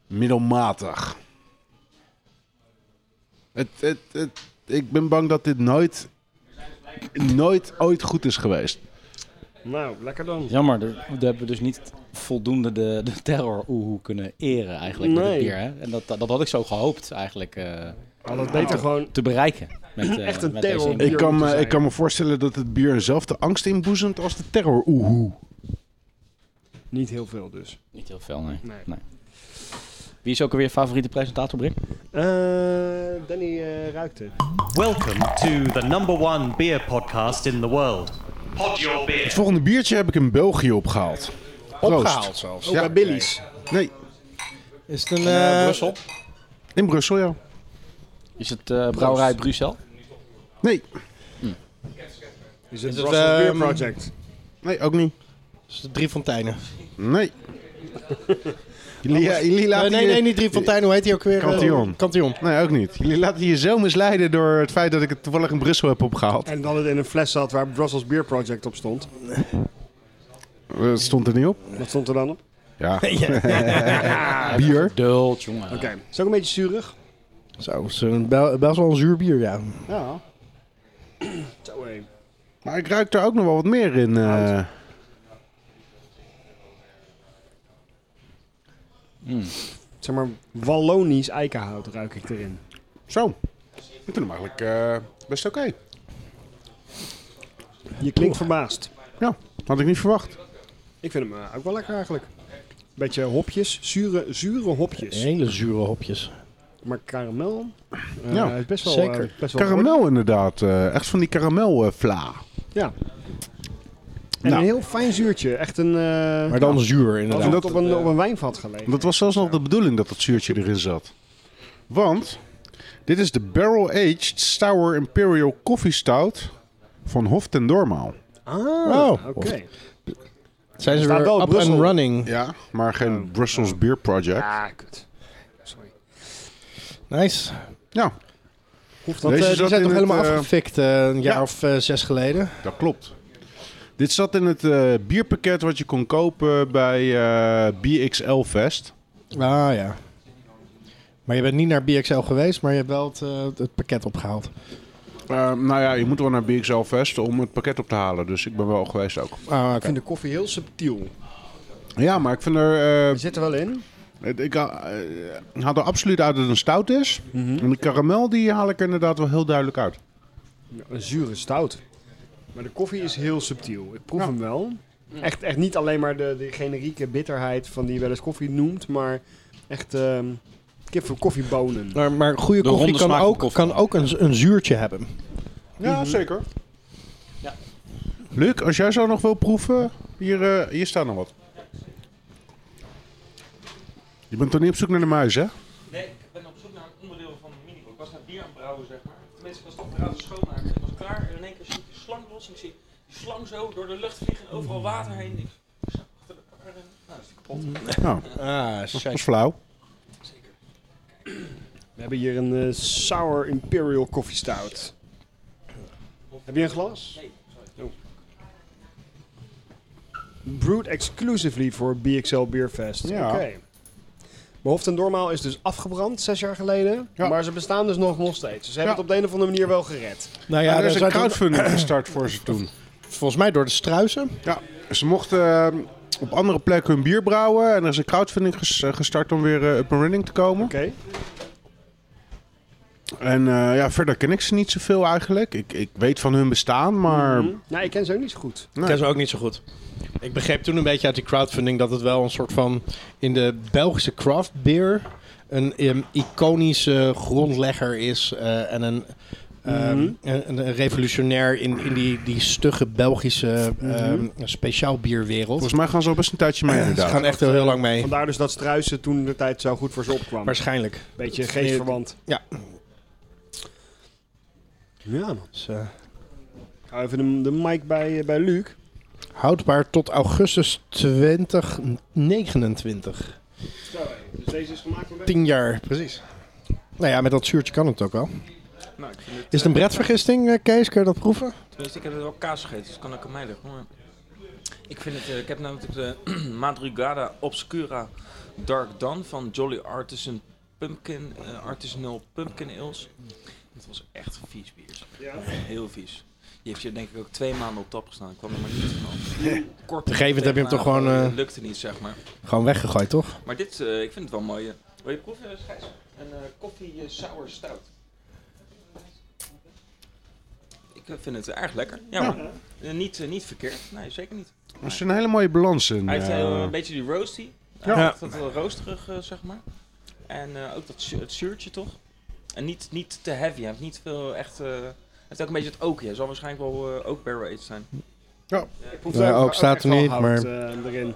Speaker 5: middelmatig. Het, het, het, ik ben bang dat dit nooit, nooit ooit goed is geweest.
Speaker 4: Nou, lekker dan.
Speaker 1: Jammer, daar daar hebben we dus niet voldoende de, de terror oehoe kunnen eren eigenlijk met
Speaker 4: Nee.
Speaker 1: het bier. Hè? En dat, dat dat had ik zo gehoopt eigenlijk eh,
Speaker 4: Had het beter gewoon...
Speaker 1: te bereiken. Met, eh,
Speaker 4: Echt een
Speaker 1: met deze
Speaker 4: terror.
Speaker 1: inbreng.
Speaker 5: Ik kan,
Speaker 4: moeten
Speaker 5: me,
Speaker 4: zijn.
Speaker 5: ik kan me voorstellen dat het bier zelf de angst inboezemt als de terror. Oehoe.
Speaker 4: Niet heel veel dus.
Speaker 1: Niet heel veel, nee.
Speaker 4: Nee.
Speaker 1: Nee. Wie is ook alweer je favoriete presentator, Brim?
Speaker 4: Eh, Danny eh, ruikt het.
Speaker 3: Welcome to the number one beer podcast in the world. Pod your beer.
Speaker 5: Het volgende biertje heb ik in België opgehaald. Proost.
Speaker 7: Opgehaald zelfs.
Speaker 4: Ook bij Billy's.
Speaker 5: Nee,
Speaker 7: Is het een. eh,
Speaker 1: Brussel.
Speaker 5: in Brussel ja.
Speaker 1: Is het eh, brouwerij Brussel?
Speaker 5: Nee,
Speaker 4: Is het
Speaker 7: het,
Speaker 4: Brussels Beer
Speaker 7: ehm,
Speaker 4: Project?
Speaker 5: nee, ook niet.
Speaker 7: Drie Fonteinen.
Speaker 5: Nee. Jullie, ja, jullie
Speaker 7: nee,
Speaker 5: laten
Speaker 7: Eh, nee,
Speaker 5: je-
Speaker 7: nee, niet Drie Fonteinen. Hoe heet hij ook weer?
Speaker 5: Cantillon.
Speaker 7: Eh, Cantillon.
Speaker 5: Nee, ook niet. Jullie laten je zo misleiden door het feit dat ik het toevallig in Brussel heb opgehaald.
Speaker 4: En dat het in een fles zat waar Brussels Beer Project op stond.
Speaker 5: Dat Eh, stond er niet op.
Speaker 4: Wat stond er dan op?
Speaker 5: Ja. Bier.
Speaker 1: Dult, jongen.
Speaker 4: Oké. Is ook een beetje zuurig?
Speaker 7: Zo, is een bel- best wel een zuur bier, ja.
Speaker 4: Ja. Zo hé.
Speaker 5: Maar ik ruik er ook nog wel wat meer in. eh.
Speaker 4: Zeg maar Wallonisch eikenhout ruik ik erin.
Speaker 5: Zo. Ik vind hem eigenlijk eh, best oké.
Speaker 4: Je klinkt verbaasd.
Speaker 5: Ja, had ik niet verwacht.
Speaker 4: Ik vind hem eh, ook wel lekker eigenlijk. Beetje hopjes, zure, zure hopjes.
Speaker 7: Hele zure hopjes.
Speaker 4: Maar karamel eh,
Speaker 5: Ja,
Speaker 4: is best wel,
Speaker 7: zeker.
Speaker 4: eh, best wel goed.
Speaker 5: Karamel inderdaad. eh, echt van die karamelvla.
Speaker 4: Ja. En
Speaker 5: Nou.
Speaker 4: een heel fijn zuurtje. Echt een... eh
Speaker 7: Maar dan zuur, inderdaad.
Speaker 4: alsof dat eh, op een, op een wijnvat gelegen.
Speaker 5: Dat was zelfs nog de bedoeling dat dat zuurtje erin zat. Want dit is de Barrel Aged Sour Imperial Coffee Stout van Hof ten Dormaal.
Speaker 4: Ah,
Speaker 7: Oh.
Speaker 4: oké.
Speaker 7: Zijn ze
Speaker 4: Staat
Speaker 7: weer
Speaker 4: wel
Speaker 7: up
Speaker 4: Brussel.
Speaker 7: and running.
Speaker 5: Ja, maar geen Brussels Beer Project.
Speaker 4: Ah, kut. Sorry.
Speaker 7: Nice.
Speaker 5: Ja,
Speaker 4: Hoeft
Speaker 7: Want
Speaker 5: Deze
Speaker 7: eh, die
Speaker 5: zat
Speaker 7: zijn
Speaker 5: in
Speaker 7: toch
Speaker 5: het,
Speaker 7: helemaal
Speaker 5: eh,
Speaker 7: afgefikt eh, een jaar
Speaker 5: ja.
Speaker 7: of eh, zes geleden?
Speaker 5: dat klopt. Dit zat in het eh, bierpakket wat je kon kopen bij eh, BXL Fest.
Speaker 7: Ah ja. Maar je bent niet naar BXL geweest, maar je hebt wel het, eh, het pakket opgehaald.
Speaker 5: Eh, nou ja, je moet wel naar BXL Vest om het pakket op te halen. Dus ik ben wel geweest ook.
Speaker 7: Ah,
Speaker 4: Ik vind de koffie heel subtiel.
Speaker 5: Ja, maar ik vind er... eh,
Speaker 4: Er zit er wel in.
Speaker 5: het- ik, ha- eh, ik haal er absoluut uit dat het een stout is. En de karamel die haal ik er inderdaad wel heel duidelijk uit.
Speaker 4: Een zure stout. Maar de koffie is heel subtiel. Ik proef hem wel. Mm. Echt, echt niet alleen maar de, de generieke bitterheid van die je wel eens koffie noemt, maar echt ehm kip voor koffiebonen.
Speaker 7: Maar, maar goede
Speaker 1: De
Speaker 7: koffie
Speaker 1: ronde
Speaker 7: kan
Speaker 1: smaak van
Speaker 7: ook,
Speaker 1: koffie.
Speaker 7: kan ook een, een zuurtje hebben.
Speaker 5: Ja, zeker. Luc, als jij zo nog wil proeven, hier, eh, hier staat nog wat. Je bent toch niet op zoek naar de muis, hè?
Speaker 6: Nee, ik ben op zoek naar een onderdeel van de miniboek. Ik was naar bier aan het brouwen, zeg maar. Tenminste, ik was toch weer aan het schoonmaken. Ik was klaar en in één keer schiet die slang los. En ik zie die slang zo door de lucht vliegen en overal water heen. Ik zag achter elkaar en nou, is die
Speaker 7: Ah,
Speaker 6: kapot.
Speaker 5: Dat is flauw.
Speaker 4: We hebben hier een eh, Sour Imperial Coffee Stout. Heb je een glas? Oh. Brewed exclusively voor BXL Beerfest.
Speaker 5: Ja.
Speaker 4: Oké. Maar Hoofd en Dormaal is dus afgebrand zes jaar geleden.
Speaker 5: Ja.
Speaker 4: Maar ze bestaan dus nog, nog steeds. Dus Ze hebben
Speaker 5: Ja.
Speaker 4: het op de een of andere manier wel gered.
Speaker 7: Nou
Speaker 5: Ja,
Speaker 7: ja,
Speaker 5: er is
Speaker 7: daar
Speaker 5: een
Speaker 7: zijn toen-
Speaker 5: crowdfunding gestart voor ze toen.
Speaker 7: volgens mij door de struisen.
Speaker 5: Ja, ze mochten eh, op andere plekken hun bier brouwen. En er is een crowdfunding ges- eh, gestart om weer eh, up and running te komen.
Speaker 4: Oké.
Speaker 5: En eh, ja, verder ken ik ze niet zoveel eigenlijk. Ik, ik weet van hun bestaan, maar...
Speaker 6: Mhm.
Speaker 4: Hm? Nou, ik ken ze ook niet zo goed.
Speaker 5: Nee.
Speaker 7: Dat is ook niet zo goed. Ik begreep toen een beetje uit die crowdfunding dat het wel een soort van in de Belgische craft beer een em, iconische grondlegger is eh, en een, ehm,
Speaker 4: Mhm.
Speaker 7: een, een revolutionair in, in die, die stugge Belgische ehm speciaal bierwereld.
Speaker 5: Volgens mij gaan ze al best een tijdje mee
Speaker 7: Ze
Speaker 5: inderdaad.
Speaker 7: gaan echt heel, heel lang mee.
Speaker 4: Vandaar dus dat Struisen toen de tijd zo goed voor ze opkwam.
Speaker 7: Waarschijnlijk.
Speaker 4: Beetje geestverwant.
Speaker 7: Ja.
Speaker 4: Ja.
Speaker 7: Dus, eh,
Speaker 4: Hou even de, de mic bij, eh, bij Luc.
Speaker 7: houdbaar tot augustus 2029.
Speaker 4: Dus deze is gemaakt van
Speaker 7: 10 jaar, precies. Nou ja, met dat zuurtje kan het ook wel.
Speaker 6: Nou, ik vind het,
Speaker 7: Is het een bredvergisting, eh, Kees? Kun je dat proeven?
Speaker 6: tenminste, ik heb er wel kaas gegeten, dus het kan ook aan mij liggen. Maar ik vind het, eh, ik heb namelijk de Madrugada Obscura Dark Dawn van Jolly Artisan Pumpkin, eh, Artisanal Pumpkin Ales. Het was echt vies bier. Heel vies. Die heeft je denk ik ook twee maanden op tap gestaan. Ik kwam er maar niet vanaf. Kort
Speaker 7: Op een gegeven moment heb je hem toch gewoon,
Speaker 6: Het
Speaker 7: eh,
Speaker 6: lukte niet, zeg maar.
Speaker 7: Gewoon weggegooid, toch?
Speaker 6: Maar dit, eh, ik vind het wel mooi. eh. Wil je proeven, eh, Gijs? Een eh koffie eh, sour stout. Ik eh, vind het erg lekker. Ja, hoor. Eh, niet, eh, niet verkeerd. Nee, zeker niet.
Speaker 5: Er is een hele mooie balans in.
Speaker 6: Hij heeft
Speaker 5: eh,
Speaker 6: heel, een beetje die roasty. Hij
Speaker 7: Ja.
Speaker 6: heeft Dat wel roosterig, eh, zeg maar. En eh, ook dat zu- het zuurtje, toch? En niet, niet te heavy. Hij heeft niet veel echt... eh, hij heeft ook een beetje het ookje. Hij zal waarschijnlijk wel eh, ook barrel aged zijn.
Speaker 7: Ja, ook staat er niet,
Speaker 4: maar... eh, erin.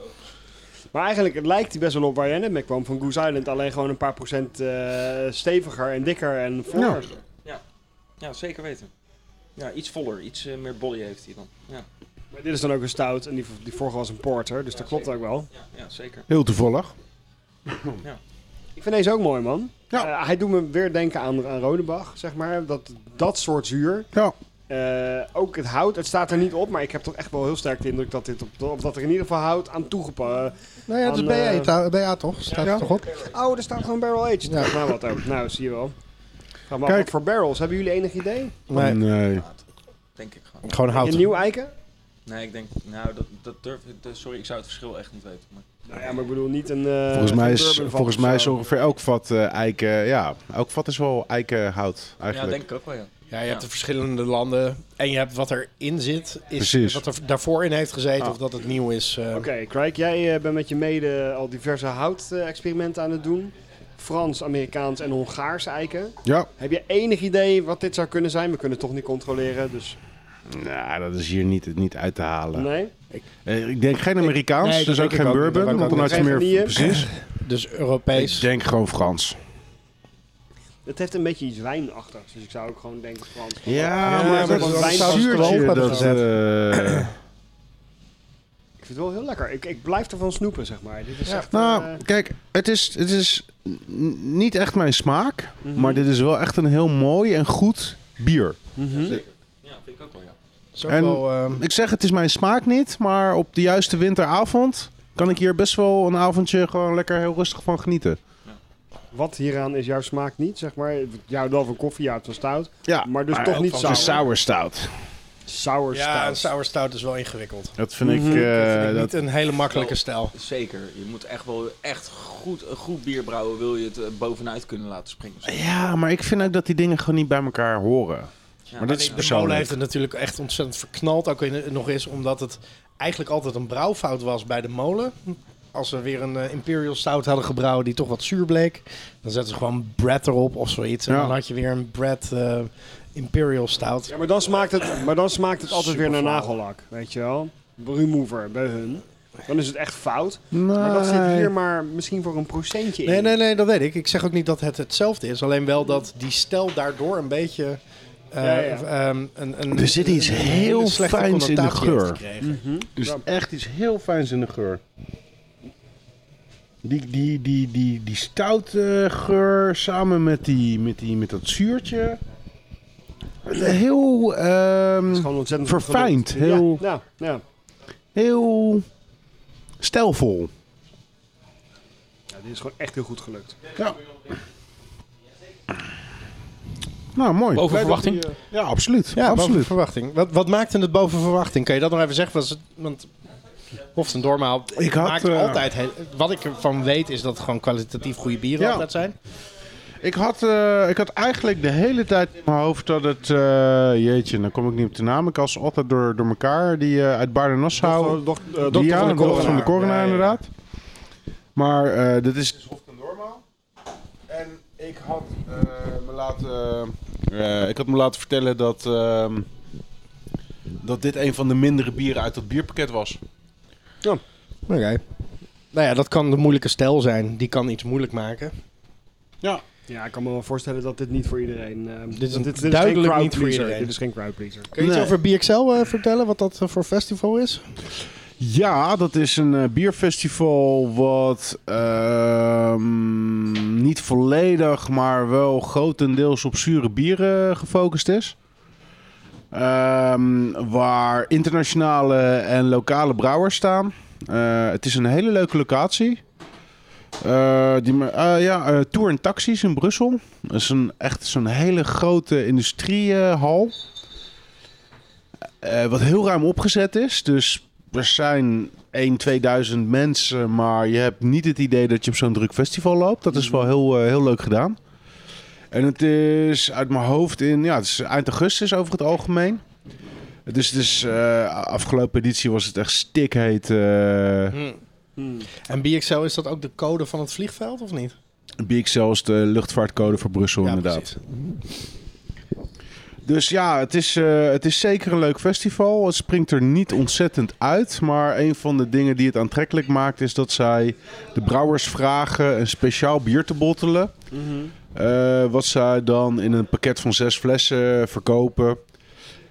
Speaker 4: Maar eigenlijk het lijkt hij best wel op waar jij net mee kwam van Goose Island. Alleen gewoon een paar procent eh, steviger en dikker en voller.
Speaker 6: Ja, zeker weten. Ja, iets voller. Iets eh, meer body heeft hij dan. Ja,
Speaker 4: Maar dit is dan ook een stout en die, die vorige was een porter. Dus dat klopt ook wel.
Speaker 6: ja, ja zeker.
Speaker 5: Heel toevallig.
Speaker 4: Ik vind deze ook mooi, man.
Speaker 5: Ja.
Speaker 4: Eh, hij doet me weer denken aan, aan Rodebach, zeg maar. Dat, dat soort zuur.
Speaker 5: Ja.
Speaker 4: Eh, ook het hout, het staat er niet op, maar ik heb toch echt wel heel sterk de indruk dat, dit op, op dat er in ieder geval hout aan toegepast.
Speaker 7: Nou ja, dat is
Speaker 4: Aan, eh,
Speaker 7: BA, ta- BA toch? Staat er toch op?
Speaker 4: Oh, er staat gewoon barrel aged.
Speaker 7: Ja.
Speaker 4: Nou, wat ook. Nou, zie je wel. Ga maar
Speaker 5: Kijk.
Speaker 4: Kijk. voor barrels. Hebben jullie enig idee?
Speaker 7: Nee, Eh,
Speaker 5: nee.
Speaker 6: Denk ik
Speaker 5: eh,
Speaker 6: gewoon.
Speaker 7: gewoon
Speaker 4: Een
Speaker 7: hout.
Speaker 4: nieuw eiken?
Speaker 6: Nee, ik denk, nou, dat, dat durf ik, dat- sorry, ik zou het verschil echt niet weten. Maar
Speaker 4: Nou ja, maar ik bedoel niet een. eh,
Speaker 5: Volgens mij
Speaker 4: een
Speaker 5: is,
Speaker 4: bourbon vat
Speaker 5: volgens
Speaker 4: of
Speaker 5: mij is
Speaker 4: zo.
Speaker 5: ongeveer elk vat eh, eiken. Ja, elk vat is wel eikenhout
Speaker 6: ja,
Speaker 5: eigenlijk.
Speaker 6: denk ik ook wel, ja.
Speaker 7: Ja, je hebt de verschillende landen en je hebt wat erin zit, is
Speaker 5: Precies.
Speaker 7: wat er daarvoor in heeft gezeten of dat het nieuw is. eh.
Speaker 4: Ah. Oké, Craig, jij eh, bent met je mede al diverse hout-experimenten aan het doen. Frans, Amerikaans en Hongaars eiken.
Speaker 5: ja.
Speaker 4: Heb je enig idee wat dit zou kunnen zijn? We kunnen het toch niet controleren, dus
Speaker 5: Nou, dat is hier niet, niet uit te halen.
Speaker 4: nee.
Speaker 5: Eh, ik denk geen Amerikaans,
Speaker 7: Nee, dat
Speaker 5: dus
Speaker 7: denk
Speaker 5: ook
Speaker 7: ik
Speaker 5: geen
Speaker 7: ook niet.
Speaker 5: bourbon.
Speaker 7: Dat kan
Speaker 5: Want dan
Speaker 7: ook
Speaker 5: had je
Speaker 4: niet.
Speaker 5: meer...
Speaker 4: Geen vanille.
Speaker 5: Precies.
Speaker 7: Dus
Speaker 5: Ik
Speaker 7: Europees.
Speaker 5: denk gewoon Frans.
Speaker 4: Het heeft een beetje iets wijnachtigs, dus ik zou ook gewoon denken Frans.
Speaker 5: Ja,
Speaker 4: maar dat is wel
Speaker 5: zuurtje,
Speaker 7: zout erop hebben
Speaker 5: dat,
Speaker 7: gezet.
Speaker 5: eh,
Speaker 4: Ik vind het wel heel lekker. Ik, ik blijf ervan snoepen, zeg maar. Dit is echt... eh,
Speaker 5: Nou, kijk, het is, het is n- niet echt mijn smaak.
Speaker 4: Mhm.
Speaker 5: Maar dit is wel echt een heel mooi en goed bier.
Speaker 6: Ja, vind ik ook wel, ja.
Speaker 7: Is ook
Speaker 5: en-
Speaker 7: wel, ehm,
Speaker 5: Ik zeg, het is mijn smaak niet, maar op de juiste winteravond kan ik hier best wel een avondje gewoon lekker heel rustig van genieten.
Speaker 4: Wat hieraan is jouw smaak niet, zeg maar? Jouw wel van koffie, ja, het was stout.
Speaker 5: Ja,
Speaker 4: Maar dus toch niet
Speaker 5: het is
Speaker 4: sour.
Speaker 5: een sour stout.
Speaker 4: Sour
Speaker 7: Ja, een
Speaker 4: stout.
Speaker 7: sour stout is wel ingewikkeld.
Speaker 5: Dat vind ik...
Speaker 4: Mhm.
Speaker 5: eh,
Speaker 7: Vind ik
Speaker 5: dat,
Speaker 7: niet een hele makkelijke stijl.
Speaker 6: Zeker. Je moet echt wel echt goed, een goed bier brouwen, wil je het eh, bovenuit kunnen laten springen.
Speaker 5: ja, maar ik vind ook dat die dingen gewoon niet bij elkaar horen.
Speaker 6: Ja,
Speaker 5: maar dat is
Speaker 6: nee,
Speaker 7: De molen
Speaker 5: persoonlijk.
Speaker 7: heeft het natuurlijk echt ontzettend verknald. Ook in- nog eens omdat het eigenlijk altijd een brouwfout was bij de molen. Als ze weer een eh, Imperial Stout hadden gebrouwen die toch wat zuur bleek. Dan zetten ze gewoon Brad erop of zoiets. En
Speaker 5: Ja.
Speaker 7: dan had je weer een Brad eh, Imperial Stout.
Speaker 4: Ja, maar dan smaakt het, maar dan smaakt het altijd weer naar
Speaker 7: Superflauw.
Speaker 4: nagellak, weet je wel? Remover bij hun. Dan is het echt fout. Maar dat zit
Speaker 5: Nee.
Speaker 4: hier maar misschien voor een procentje in.
Speaker 7: Nee, nee, nee, dat weet ik. Ik zeg ook niet dat het hetzelfde is. Alleen wel dat die stijl daardoor een beetje... eh,
Speaker 4: Ja, ja.
Speaker 7: ehm, een, een,
Speaker 5: Er zit iets
Speaker 7: een hele
Speaker 5: heel
Speaker 7: slechte
Speaker 5: fijns in de
Speaker 7: connotatie heeft
Speaker 5: geur.
Speaker 7: gekregen.
Speaker 4: Mhm.
Speaker 5: Dus echt iets heel fijns in de geur. Die, die, die, die, die stoute geur samen met, die, met, die, met dat zuurtje. Heel,
Speaker 4: Het is
Speaker 5: ehm
Speaker 4: gewoon ontzettend
Speaker 5: Verfijnd,
Speaker 4: goed gedaan.
Speaker 5: heel-
Speaker 4: Ja, ja, ja.
Speaker 5: heel stijlvol.
Speaker 4: Ja, dit is gewoon echt heel goed gelukt.
Speaker 5: Ja. Nou, mooi.
Speaker 1: Boven
Speaker 5: Blij dat
Speaker 1: verwachting?
Speaker 5: die, eh, ja, absoluut.
Speaker 7: Ja, boven
Speaker 5: absoluut.
Speaker 7: verwachting. Wat, wat maakte het boven verwachting? Kan je dat nog even zeggen? Was het, want Hoften Dormaal
Speaker 5: Ik had,
Speaker 7: maakt
Speaker 5: eh,
Speaker 7: altijd... heel- wat ik ervan weet is dat het gewoon kwalitatief goede bieren
Speaker 5: Ja.
Speaker 7: altijd zijn.
Speaker 5: Ik had, eh, ik had eigenlijk de hele tijd in mijn hoofd dat het... eh, jeetje, dan kom ik niet op de naam. Ik was altijd door, door elkaar. Die eh, uit Baarden-Nassau.
Speaker 4: Doch- doch- eh,
Speaker 5: Die
Speaker 4: dokter
Speaker 5: ja,
Speaker 4: van de
Speaker 5: de dochter
Speaker 4: Corona.
Speaker 5: van de corona,
Speaker 7: Ja, ja, ja.
Speaker 5: inderdaad. Maar eh, dit is... normaal. En ik had, eh, me laten, eh, eh, ik had me laten vertellen dat, ehm, dat dit een van de mindere bieren uit dat bierpakket was.
Speaker 7: Oké. Nou ja, dat kan de moeilijke stijl zijn. Die kan iets moeilijk maken.
Speaker 4: Ja, ik kan me wel voorstellen dat dit niet voor iedereen... eh, dat
Speaker 7: is een-
Speaker 4: geen
Speaker 7: duidelijk
Speaker 4: crowd
Speaker 7: niet voor
Speaker 4: pleaser.
Speaker 7: iedereen.
Speaker 4: Dit is geen crowdpleaser.
Speaker 7: Kun je iets over BXL eh, vertellen? Wat dat eh, voor festival is?
Speaker 5: Ja, dat is een eh, bierfestival wat ehm, niet volledig, maar wel grotendeels op zure bieren gefocust is. Ehm, waar internationale en lokale brouwers staan. Eh, het is een hele leuke locatie. Eh, die, me- eh, ja, eh, Tour en Taxis in Brussel. Dat is een, echt zo'n hele grote industriehal. Eh, wat heel ruim opgezet is. Dus er zijn 1, 2000 mensen, maar je hebt niet het idee dat je op zo'n druk festival loopt. Dat is wel heel, eh, heel leuk gedaan. En het is uit mijn hoofd in, ja, het is eind augustus over het algemeen. Dus het is, eh, afgelopen editie was het echt stikheet. eh
Speaker 7: Hmm. En BXL, is dat ook de code van het vliegveld of niet?
Speaker 5: BXL is de luchtvaartcode voor Brussel,
Speaker 7: Ja,
Speaker 5: inderdaad.
Speaker 7: precies.
Speaker 5: Dus ja, het is, eh, het is zeker een leuk festival. Het springt er niet ontzettend uit. Maar een van de dingen die het aantrekkelijk maakt, is dat zij de brouwers vragen een speciaal bier te bottelen.
Speaker 7: Mhm.
Speaker 5: Eh, wat zij dan in een pakket van zes flessen verkopen.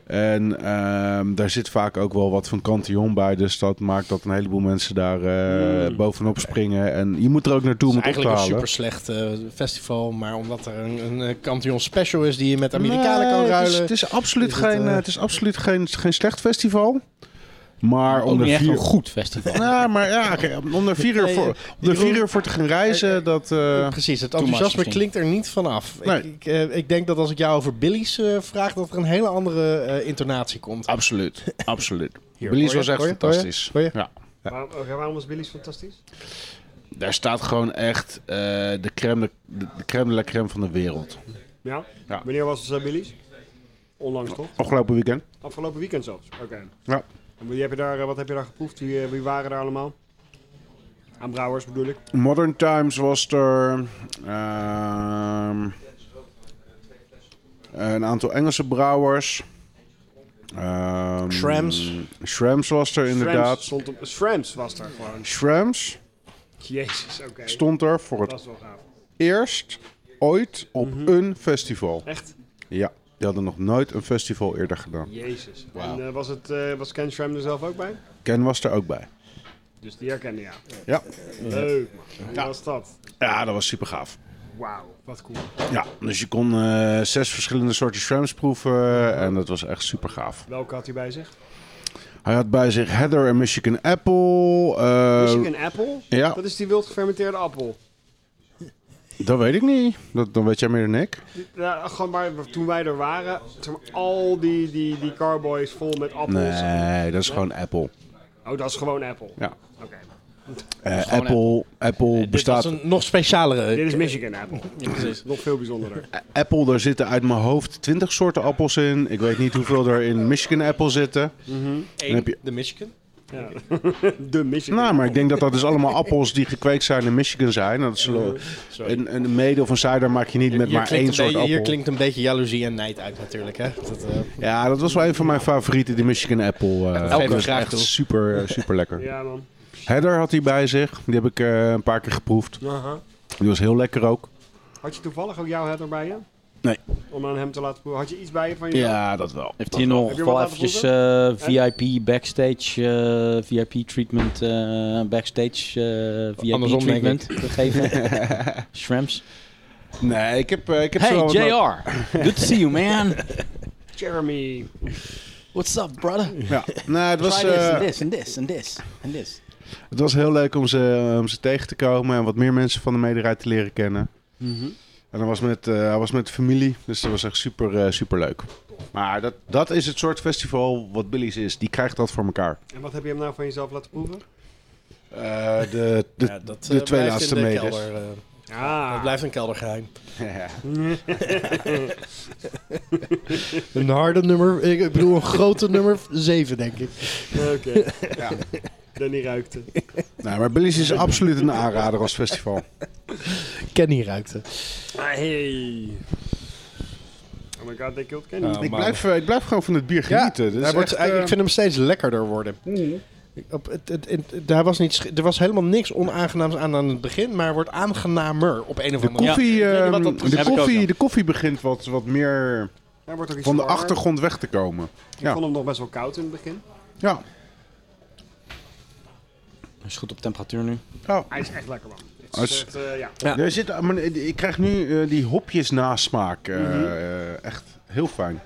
Speaker 5: En ehm, daar zit vaak ook wel wat van Cantillon bij. Dus dat maakt dat een heleboel mensen daar eh, bovenop springen. En je moet er ook naartoe om
Speaker 7: Mm. Het is
Speaker 5: het op te
Speaker 7: eigenlijk een
Speaker 5: halen.
Speaker 7: super slecht festival. Maar omdat er een, een eh, Cantillon Special is die je met Amerikanen kan
Speaker 5: Nee, het is-
Speaker 7: ruilen.
Speaker 5: Het is, absoluut,
Speaker 7: Is het,
Speaker 5: geen,
Speaker 7: eh,
Speaker 5: eh, het is absoluut geen, geen slecht festival. Maar
Speaker 1: Ook
Speaker 5: om
Speaker 1: niet
Speaker 5: er
Speaker 1: echt een
Speaker 5: vier,
Speaker 1: goed festival.
Speaker 5: nou, maar ja, kijk, om er vier uur
Speaker 7: Nee,
Speaker 5: voor,
Speaker 7: eh,
Speaker 5: om er vier
Speaker 7: Jeroen-
Speaker 5: uur voor te gaan reizen, dat... eh,
Speaker 7: Precies, het
Speaker 1: much
Speaker 7: enthousiasme
Speaker 1: misschien.
Speaker 7: klinkt er niet vanaf.
Speaker 5: Nee.
Speaker 7: Ik, ik, eh, ik denk dat als ik jou over Billy's eh, vraag, dat er een hele andere eh, intonatie komt.
Speaker 5: absoluut, absoluut.
Speaker 7: Hier,
Speaker 5: Belize
Speaker 7: hoor
Speaker 5: Ah, was
Speaker 7: je?
Speaker 5: echt
Speaker 7: Hoor je?
Speaker 5: fantastisch.
Speaker 7: Hoor je?
Speaker 5: Ja.
Speaker 4: Waarom, oké, oh, waarom was Billy's fantastisch?
Speaker 5: Daar staat gewoon echt eh, de, crème de, de crème de la crème van de wereld.
Speaker 4: Ja?
Speaker 5: Ja.
Speaker 4: Wanneer was eh, Billy's? Onlangs toch?
Speaker 5: Afgelopen weekend.
Speaker 4: Afgelopen weekend zelfs. Oké.
Speaker 5: Ja.
Speaker 4: En wie heb je daar, eh, wat heb je daar geproefd? Wie, eh, wie waren daar allemaal? Aan brouwers bedoel ik.
Speaker 5: Modern Times was er. ehm, een aantal Engelse brouwers. ehm,
Speaker 7: Shrams.
Speaker 5: Shrams was er
Speaker 4: Shrams
Speaker 5: inderdaad.
Speaker 4: stond op- Shrams was daar gewoon.
Speaker 5: Shrams
Speaker 4: Jezus, oké.
Speaker 5: stond er voor
Speaker 4: Dat
Speaker 5: het
Speaker 4: is wel gaaf.
Speaker 5: eerst ooit op een festival.
Speaker 4: Echt?
Speaker 5: Ja, die hadden nog nooit een festival eerder gedaan.
Speaker 4: Jezus.
Speaker 5: Wauw.
Speaker 4: En eh, was, het, eh, was Ken Shram er zelf ook bij?
Speaker 5: Ken was er ook bij.
Speaker 4: Dus die herkende ja.
Speaker 5: Ja,
Speaker 4: Leuk man. Hoe was dat?
Speaker 5: ja dat was super gaaf.
Speaker 4: Wauw, wat cool.
Speaker 5: Ja, dus je kon eh, zes verschillende soorten Shrams proeven en dat was echt super gaaf.
Speaker 4: Welke had hij bij zich?
Speaker 5: Hij had bij zich Heather en Michigan Apple. eh,
Speaker 4: Michigan Apple?
Speaker 5: ja.
Speaker 4: Dat is die wild gefermenteerde appel.
Speaker 5: Dat weet ik niet. Dat, dan weet jij meer dan ik.
Speaker 4: Nou, gewoon maar toen wij er waren, zeg maar, al die, die, die carboys vol met appels.
Speaker 5: Nee, dat is gewoon Apple.
Speaker 4: Oh, dat is gewoon Apple.
Speaker 5: Ja.
Speaker 4: Oké.
Speaker 5: Eh, Apple, Apple bestaat...
Speaker 7: Eh, Dit was een nog specialere.
Speaker 4: Dit is Michigan Apple. Nog veel bijzonderder.
Speaker 5: Apple, daar zitten uit mijn hoofd 20 soorten appels in. Ik weet niet hoeveel er in Michigan Apple zitten.
Speaker 7: Mhm.
Speaker 5: Dan heb je...
Speaker 7: De Michigan.
Speaker 4: Ja. De Michigan.
Speaker 5: Nou, maar ik denk dat dat dus allemaal appels die gekweekt zijn in Michigan zijn. Dat is lo- een, een mede of een cider maak je niet met
Speaker 7: Hier
Speaker 5: maar
Speaker 7: klinkt
Speaker 5: één
Speaker 7: een
Speaker 5: soort
Speaker 7: beetje- Hier
Speaker 5: appel.
Speaker 7: klinkt een beetje jaloezie en nijd uit natuurlijk. Hè? Dat, eh,
Speaker 5: Ja, dat was wel een van mijn favorieten, die Michigan Apple. eh
Speaker 7: geef ik
Speaker 5: dat is
Speaker 7: graag
Speaker 5: echt
Speaker 7: toe.
Speaker 5: super, eh, super lekker.
Speaker 4: Ja, man.
Speaker 5: Heather had hij bij zich. Die heb ik eh, een paar keer geproefd. Die was heel lekker ook.
Speaker 4: Had je toevallig ook jouw header bij je?
Speaker 5: Nee.
Speaker 4: Om aan hem te laten proeven. Had je iets bij je van je?
Speaker 5: Ja, dat wel.
Speaker 1: Heeft hij nog
Speaker 4: Heb je
Speaker 1: wel
Speaker 4: wat laten
Speaker 1: eventjes eh, VIP backstage, eh, VIP treatment, eh, backstage eh, VIP
Speaker 7: Andersom, denk
Speaker 1: treatment gegeven? Shrimps.
Speaker 5: Nee, ik heb, eh, ik heb zo
Speaker 1: Hey
Speaker 5: wat-
Speaker 1: JR, good to see you man.
Speaker 4: Jeremy.
Speaker 1: What's up brother?
Speaker 5: Ja. Nee, het was,
Speaker 1: Try this
Speaker 5: eh,
Speaker 1: and this and this and this and this.
Speaker 5: het was heel leuk om ze, om ze tegen te komen en wat meer mensen van de mederij te leren kennen. Mhm. En hij was, met, eh, hij was met de familie, dus dat was echt super, eh, super leuk. Maar dat, dat is het soort festival wat Billy's is. Die krijgt dat voor elkaar.
Speaker 4: En wat heb je hem nou van jezelf laten proeven?
Speaker 5: Eh, de, de,
Speaker 7: ja, dat,
Speaker 5: de
Speaker 7: eh,
Speaker 5: twee
Speaker 7: blijft
Speaker 5: laatste
Speaker 7: in de
Speaker 5: meters.
Speaker 7: kelder, eh, Dat
Speaker 4: Ah.
Speaker 7: blijft een keldergeheim.
Speaker 5: ja.
Speaker 7: Een harde nummer, ik bedoel een grote nummer 7 denk ik.
Speaker 4: Ah, Oké.
Speaker 5: Ja.
Speaker 4: Danny ruikte.
Speaker 5: Nee, maar Billy's is absoluut een aanrader als festival.
Speaker 7: Kenny ruikte.
Speaker 1: Ah,
Speaker 4: Hey. Oh my god, they killed Kenny.
Speaker 7: Nou,
Speaker 5: ik,
Speaker 7: maar-
Speaker 5: blijf, eh, ik blijf gewoon van het bier genieten.
Speaker 7: hij
Speaker 5: Dus
Speaker 7: wordt,
Speaker 5: echt,
Speaker 7: hij-
Speaker 5: eh, Mhm.
Speaker 7: ik vind hem steeds lekkerder worden. Ik- Op, het, het, het- het- daar was niet, sch- er was helemaal niks onaangenaams aan aan het begin, maar hij wordt aangenamer op een of
Speaker 5: de
Speaker 7: andere manier.
Speaker 5: koffie,
Speaker 7: weet niet wat
Speaker 5: ehm,
Speaker 7: dat precies-
Speaker 5: de,
Speaker 1: Heb ik ook
Speaker 5: koffie
Speaker 1: nog.
Speaker 5: de koffie begint wat, wat meer
Speaker 4: Hij wordt ook iets
Speaker 5: van de
Speaker 4: warmer.
Speaker 5: achtergrond weg te komen.
Speaker 4: Ik
Speaker 5: ja.
Speaker 4: vond hem nog best wel koud in het begin.
Speaker 5: Ja.
Speaker 1: Is goed op temperatuur nu.
Speaker 5: Oh.
Speaker 4: Hij is echt lekker man. Het
Speaker 5: Hij
Speaker 4: is
Speaker 5: is-
Speaker 4: echt, eh, ja.
Speaker 5: Er zit, eh, maar, eh, ik krijg nu eh, die hopjes nasmaak. eh,
Speaker 7: Mhm.
Speaker 5: eh, echt heel fijn.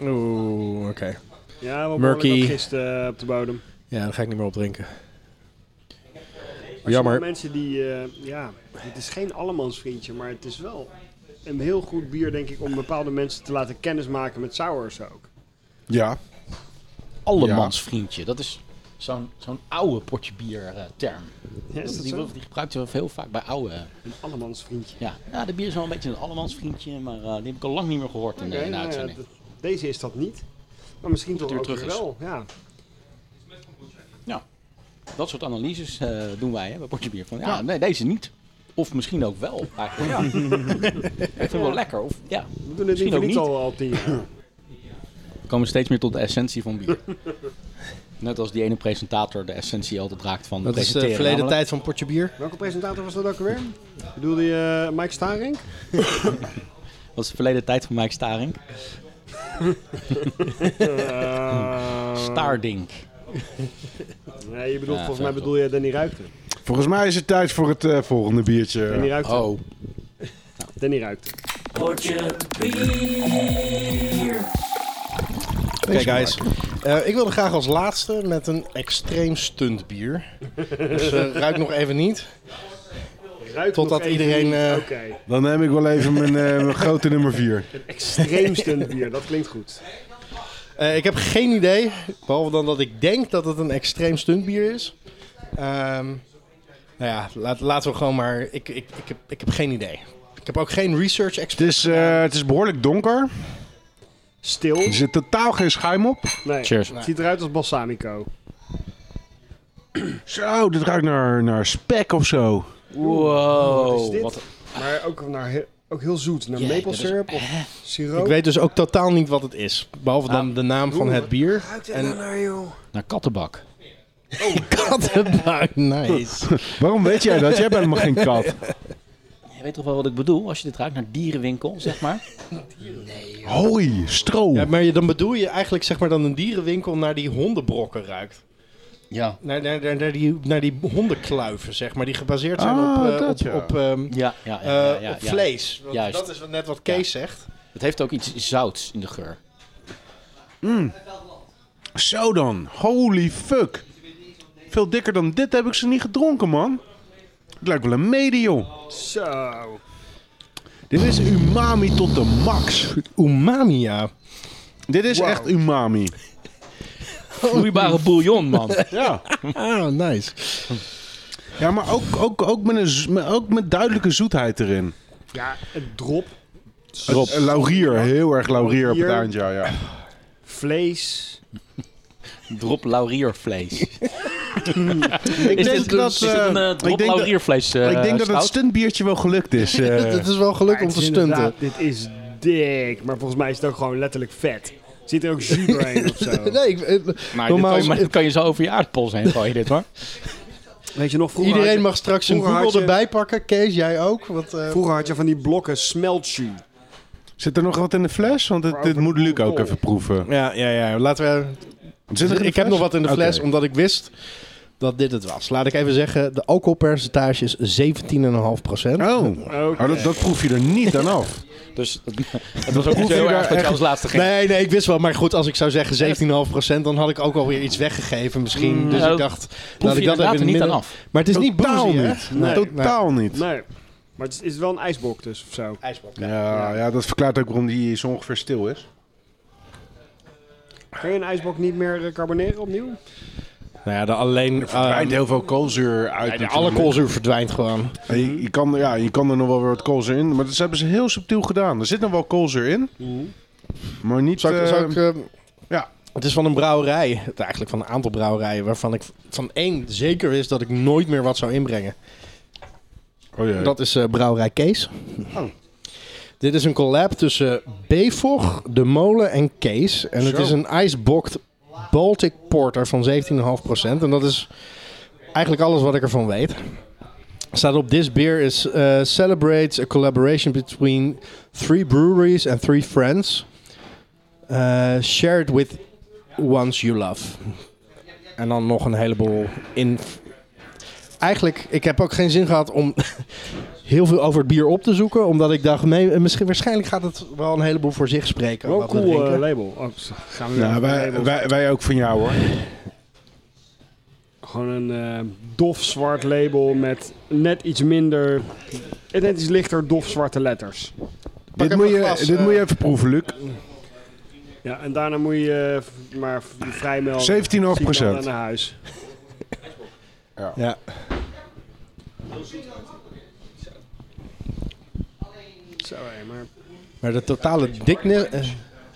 Speaker 7: Oeh, oké.
Speaker 4: Ja, wel
Speaker 7: Murky.
Speaker 4: behoorlijk wat gist eh, op de bodem. Maar
Speaker 7: Ja, dan ga ik niet meer opdrinken.
Speaker 4: sommige
Speaker 7: Jammer.
Speaker 4: mensen die, eh, ja, het is geen allemansvriendje, maar het is wel een heel goed bier denk ik om bepaalde mensen te laten kennismaken met sours ook.
Speaker 5: Ja.
Speaker 1: Allemans vriendje, dat is zo'n zo'n oude potje bier eh, term.
Speaker 4: Ja, is dat
Speaker 1: die,
Speaker 4: zo?
Speaker 1: die gebruikt ze heel vaak bij oude. eh,
Speaker 4: Een allemansvriendje.
Speaker 1: Ja, ja de bier is wel een beetje een allemans vriendje, maar eh, die heb ik al lang niet meer gehoord in, de-
Speaker 4: Oké,
Speaker 1: in de
Speaker 4: nou ja,
Speaker 1: uitzending.
Speaker 4: d- deze is dat niet. Maar misschien toch
Speaker 1: weer
Speaker 4: ook
Speaker 1: terug
Speaker 4: weer
Speaker 1: is.
Speaker 4: wel. Ja.
Speaker 1: Dat soort analyses eh, doen wij hè, bij Potje Bier. Van, ja, nee, deze niet. Of misschien ook wel, eigenlijk. Ja. ik vind het wel lekker. Of, ja.
Speaker 4: We doen dit
Speaker 1: Misschien
Speaker 4: liever
Speaker 1: ook niet.
Speaker 4: niet al, al tien jaar.
Speaker 1: We komen steeds meer tot de essentie van bier. Net als die ene presentator de essentie altijd raakt van
Speaker 7: Dat is
Speaker 1: presenteren.
Speaker 7: de verleden
Speaker 1: namelijk.
Speaker 7: tijd van potje bier.
Speaker 4: Welke presentator was dat ook alweer? Bedoelde je eh, Mike Staring?
Speaker 1: Dat is de verleden tijd van Mike Staring.
Speaker 4: Eh.
Speaker 1: Staardink.
Speaker 4: Eh, Nee, je bedoelt,
Speaker 1: Ja,
Speaker 4: volgens mij
Speaker 1: zo
Speaker 4: bedoel je Danny Ruikte.
Speaker 5: Volgens mij is het tijd voor het eh, volgende biertje.
Speaker 4: Danny Ruikte.
Speaker 1: Oh.
Speaker 4: Danny Ruikte.
Speaker 7: Oké guys, Eh, ik wilde graag als laatste met een extreem stunt bier. dus eh, ruik nog even niet.
Speaker 4: Ruikt
Speaker 7: Totdat
Speaker 4: nog even
Speaker 7: iedereen,
Speaker 4: niet.
Speaker 7: eh,
Speaker 4: Oké,
Speaker 5: Dan neem ik wel even mijn, eh, mijn grote nummer 4.
Speaker 4: extreem stunt bier, dat klinkt goed.
Speaker 7: Eh, ik heb geen idee, behalve dan dat ik denk dat het een extreem stuntbier is. Ehm, nou ja, laat- laten we gewoon maar... Ik, ik, ik, heb, ik heb geen idee. Ik heb ook geen research
Speaker 5: Het
Speaker 7: expert.
Speaker 5: is, eh, het is behoorlijk donker.
Speaker 4: Stil?
Speaker 5: Er zit totaal geen schuim op.
Speaker 4: Nee.
Speaker 1: Cheers.
Speaker 4: Het ziet eruit als balsamico.
Speaker 5: Zo, dit ruikt naar, naar spek of zo.
Speaker 1: Wow.
Speaker 4: Wat is dit?
Speaker 1: Oh, Wat-
Speaker 4: Maar ook, naar, he- ook heel zoet. Naar
Speaker 1: Ja,
Speaker 4: maple
Speaker 1: dat is-
Speaker 4: syrup of siroop.
Speaker 7: Ik weet dus ook totaal niet wat het is. Behalve dan
Speaker 1: Nou,
Speaker 7: de naam van het bier.
Speaker 4: Ruikt het nou naar, joh?
Speaker 1: Naar kattenbak.
Speaker 7: Kattenbuik, nice.
Speaker 5: Waarom weet jij dat? Jij bent helemaal geen kat.
Speaker 1: Je weet toch wel wat ik bedoel? Als je dit ruikt naar dierenwinkel, zeg maar.
Speaker 5: Hoi, stro.
Speaker 7: Ja, maar je- dan bedoel je eigenlijk zeg maar dan een dierenwinkel naar die hondenbrokken ruikt.
Speaker 1: Ja.
Speaker 7: Naar, naar, naar, naar die, naar die hondenkluiven, zeg maar. Die gebaseerd zijn
Speaker 5: Ah,
Speaker 7: op, eh,
Speaker 5: dat
Speaker 7: op,
Speaker 5: ja.
Speaker 7: op, ehm,
Speaker 1: Ja, ja, ja, ja,
Speaker 7: eh,
Speaker 1: ja,
Speaker 7: op
Speaker 1: ja.
Speaker 7: vlees. Want
Speaker 1: Juist.
Speaker 7: Dat is wat- net wat Kees zegt.
Speaker 1: Het heeft ook iets zouts in de geur.
Speaker 5: Zo dan. Holy fuck. Veel dikker dan dit heb ik ze niet gedronken, man. Het lijkt wel een mede, joh.
Speaker 4: Zo.
Speaker 5: Dit is umami tot de max.
Speaker 7: Umami, ja.
Speaker 5: Dit is echt umami.
Speaker 1: Vloeibare bouillon, man.
Speaker 5: Ja.
Speaker 7: Ah, nice.
Speaker 5: Ja, maar ook, ook, ook, met, een, z- met- ook met duidelijke zoetheid erin.
Speaker 4: Ja, het drop.
Speaker 5: Rob. Laurier, heel erg laurier op het
Speaker 4: Laurier.
Speaker 5: eind, ja. ja.
Speaker 4: Vlees.
Speaker 1: Drop lauriervlees.
Speaker 5: Ik
Speaker 1: Is dit, dat, is dit een eh, drop
Speaker 5: ik denk, dat,
Speaker 1: lauriervlees eh,
Speaker 5: ik denk dat het
Speaker 1: stout?
Speaker 5: stuntbiertje wel gelukt is. eh.
Speaker 7: Het is wel geluk
Speaker 4: Maar
Speaker 7: om
Speaker 4: het
Speaker 7: te
Speaker 4: is
Speaker 7: stunten.
Speaker 4: inderdaad- Dit is dik, maar volgens mij is het ook gewoon letterlijk vet. Zit er ook jus doorheen of zo?
Speaker 7: Nee, ik-
Speaker 1: Maar
Speaker 7: eh,
Speaker 1: dit
Speaker 7: normaal
Speaker 1: kan je- maar
Speaker 7: is-
Speaker 1: dit kan je zo over je aardpols heen gooien, dit hoor.
Speaker 4: Weet je nog, vroeger,
Speaker 7: iedereen
Speaker 4: had
Speaker 7: mag straks een
Speaker 4: vroeger had
Speaker 7: Google
Speaker 4: je-
Speaker 7: erbij pakken. Kees, jij ook? Wat, eh,
Speaker 4: je, vroeger had je van die blokken smeltjus.
Speaker 5: Zit er nog wat in de fles? Want dit, dit moet Luc ook even proeven.
Speaker 7: ja, ja, ja. Laten we...
Speaker 5: Zit er in de
Speaker 7: ik heb nog
Speaker 5: fles?
Speaker 7: wat in de fles,
Speaker 5: Oké.
Speaker 7: omdat ik wist dat dit het was. Laat ik even zeggen, de alcoholpercentage is 17,5
Speaker 5: Oh, maar dat, dat proef je er niet aan af.
Speaker 1: Dus het was ook niet
Speaker 5: Hoef je
Speaker 1: heel
Speaker 5: daar
Speaker 1: erg dat je
Speaker 5: echt-
Speaker 1: als laatste ging.
Speaker 7: Nee, nee, ik wist wel. Maar goed, als ik zou zeggen 17,5 dan had ik ook alweer iets weggegeven misschien. dus
Speaker 1: ja,
Speaker 7: ik dacht,
Speaker 1: Proef
Speaker 7: laat
Speaker 1: je
Speaker 7: ik dat
Speaker 1: inderdaad
Speaker 7: even
Speaker 1: er
Speaker 7: in
Speaker 1: niet
Speaker 7: het
Speaker 1: aan
Speaker 7: midden-
Speaker 1: af.
Speaker 7: Maar het is niet
Speaker 5: Totaal
Speaker 7: boozy, hè?
Speaker 5: niet.
Speaker 4: Nee.
Speaker 5: Totaal niet.
Speaker 4: Nee, maar het is, is wel een ijsblok dus of zo.
Speaker 7: IJsblok.
Speaker 5: Ja, ja, dat verklaart ook waarom die zo ongeveer stil is.
Speaker 4: Kan je een ijsblok niet meer eh, carboneren opnieuw?
Speaker 7: Nou ja, de alleen...
Speaker 5: Er
Speaker 7: eh,
Speaker 5: rijdt heel veel koolzuur uit.
Speaker 7: ja, de
Speaker 5: natuurlijk.
Speaker 7: alle koolzuur verdwijnt gewoon.
Speaker 5: En Je, je kan, er- ja, je kan er nog wel weer wat koolzuur in. Maar dat hebben ze heel subtiel gedaan. Er zit nog wel koolzuur in. Maar niet...
Speaker 7: Zou ik,
Speaker 5: eh,
Speaker 7: zou ik, eh,
Speaker 5: ja.
Speaker 7: Het is van een brouwerij, het eigenlijk van een aantal brouwerijen, waarvan ik van één zeker wist dat ik nooit meer wat zou inbrengen.
Speaker 5: oh, jee.
Speaker 7: Dat is eh, Brouwerij Kees.
Speaker 5: Oh.
Speaker 7: Dit is een collab tussen Bevog, De Molen en Kees. En het
Speaker 5: Zo.
Speaker 7: is een iceboxed Baltic Porter van 17,5%. En dat is eigenlijk alles wat ik ervan weet. Staat op This Beer is eh, celebrates a collaboration between three breweries and three friends. Eh, share it with ones you love. En dan nog een heleboel in. Eigenlijk, ik heb ook geen zin gehad om heel veel over het bier op te zoeken. Omdat ik dacht, nee, eh, misschien, waarschijnlijk gaat het wel een heleboel voor zich spreken.
Speaker 4: Wel
Speaker 7: wat we
Speaker 4: cool
Speaker 7: drinken.
Speaker 4: eh, label. Oh, pst, gaan we weer
Speaker 5: Nou,
Speaker 4: over
Speaker 5: wij,
Speaker 4: labels.
Speaker 5: wij, wij ook van jou hoor.
Speaker 4: Gewoon een eh, dof zwart label met net iets minder... en Net iets lichter dof zwarte letters.
Speaker 5: Dit,
Speaker 7: even
Speaker 5: moet
Speaker 7: een
Speaker 5: je,
Speaker 7: glas,
Speaker 5: dit
Speaker 7: eh.
Speaker 5: moet je even proeven, Luc. 17,5
Speaker 4: Ja, en daarna moet je eh, v- maar v- vrijmelden. Signaal naar huis.
Speaker 7: Ja.
Speaker 4: Zo, hé, maar...
Speaker 7: Maar de totale dikne... eh,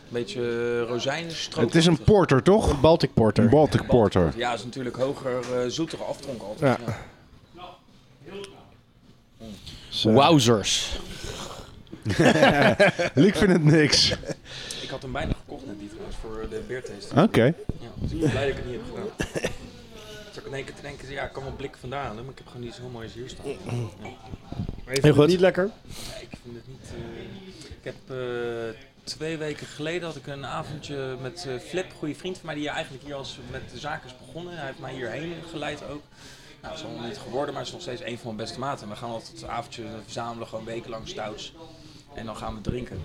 Speaker 6: beetje eh, rozijnenstroop.
Speaker 5: Het is een porter, toch?
Speaker 7: Baltic
Speaker 5: Een
Speaker 7: Porter.
Speaker 5: Baltic porter.
Speaker 6: Ja, is natuurlijk hoger, eh, zoetere aftronk altijd.
Speaker 7: Ja. Zo.
Speaker 1: Wowzers.
Speaker 5: Luc vindt het niks. Oké.
Speaker 6: Ik had hem bijna gekocht net die trouwens voor eh, de beertaste. Ja, dus ik ben blij dat ik het niet heb gedaan. Zou ik in één keer te denken, ja, ik kan wel blik vandaan halen, maar ik heb gewoon iets heel moois hier staan.
Speaker 4: Maar je
Speaker 7: Heel
Speaker 4: vindt het
Speaker 7: goed.
Speaker 4: niet lekker?
Speaker 6: Nee, ik vind het niet... eh, ik heb eh, twee weken geleden had ik een avondje met eh, Flip, een goede vriend van mij, die eigenlijk hier als met de zaak is begonnen. Hij heeft mij hierheen geleid ook. Nou, het is allemaal niet geworden, maar het is nog steeds een van mijn beste maten. We gaan altijd het avondje verzamelen, gewoon wekenlang stouts. En dan gaan we drinken.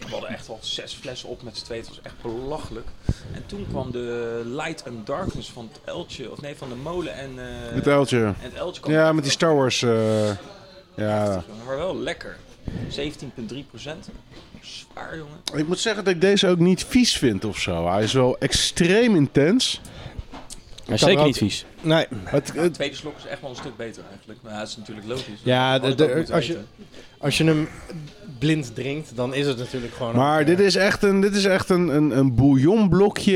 Speaker 6: We hadden echt al zes flessen op met z'n tweeën. Het was echt belachelijk. En toen kwam de Light and Darkness van het Eltje, of nee, van de molen en... eh,
Speaker 5: Met uiltje.
Speaker 6: en het Eltje kwam
Speaker 5: Ja, met die Star Wars. eh, ja.
Speaker 6: maar wel lekker. 17,3 Zwaar, jongen.
Speaker 5: Ik moet zeggen dat ik deze ook niet vies vind of zo. Hij is wel extreem intens.
Speaker 1: Maar zeker
Speaker 7: ook-
Speaker 1: niet vies.
Speaker 7: Nee.
Speaker 5: Het,
Speaker 6: De
Speaker 5: het-
Speaker 6: tweede slok is echt wel een stuk beter eigenlijk. Maar ja, dat is natuurlijk logisch.
Speaker 7: Ja,
Speaker 6: Had ik
Speaker 7: de-
Speaker 6: ook
Speaker 7: de-
Speaker 6: moeten
Speaker 7: als je-
Speaker 6: weten.
Speaker 7: Als je hem blind drinkt, dan is het natuurlijk gewoon... eh,
Speaker 5: maar dit is echt een, dit is echt een, een, een bouillonblokje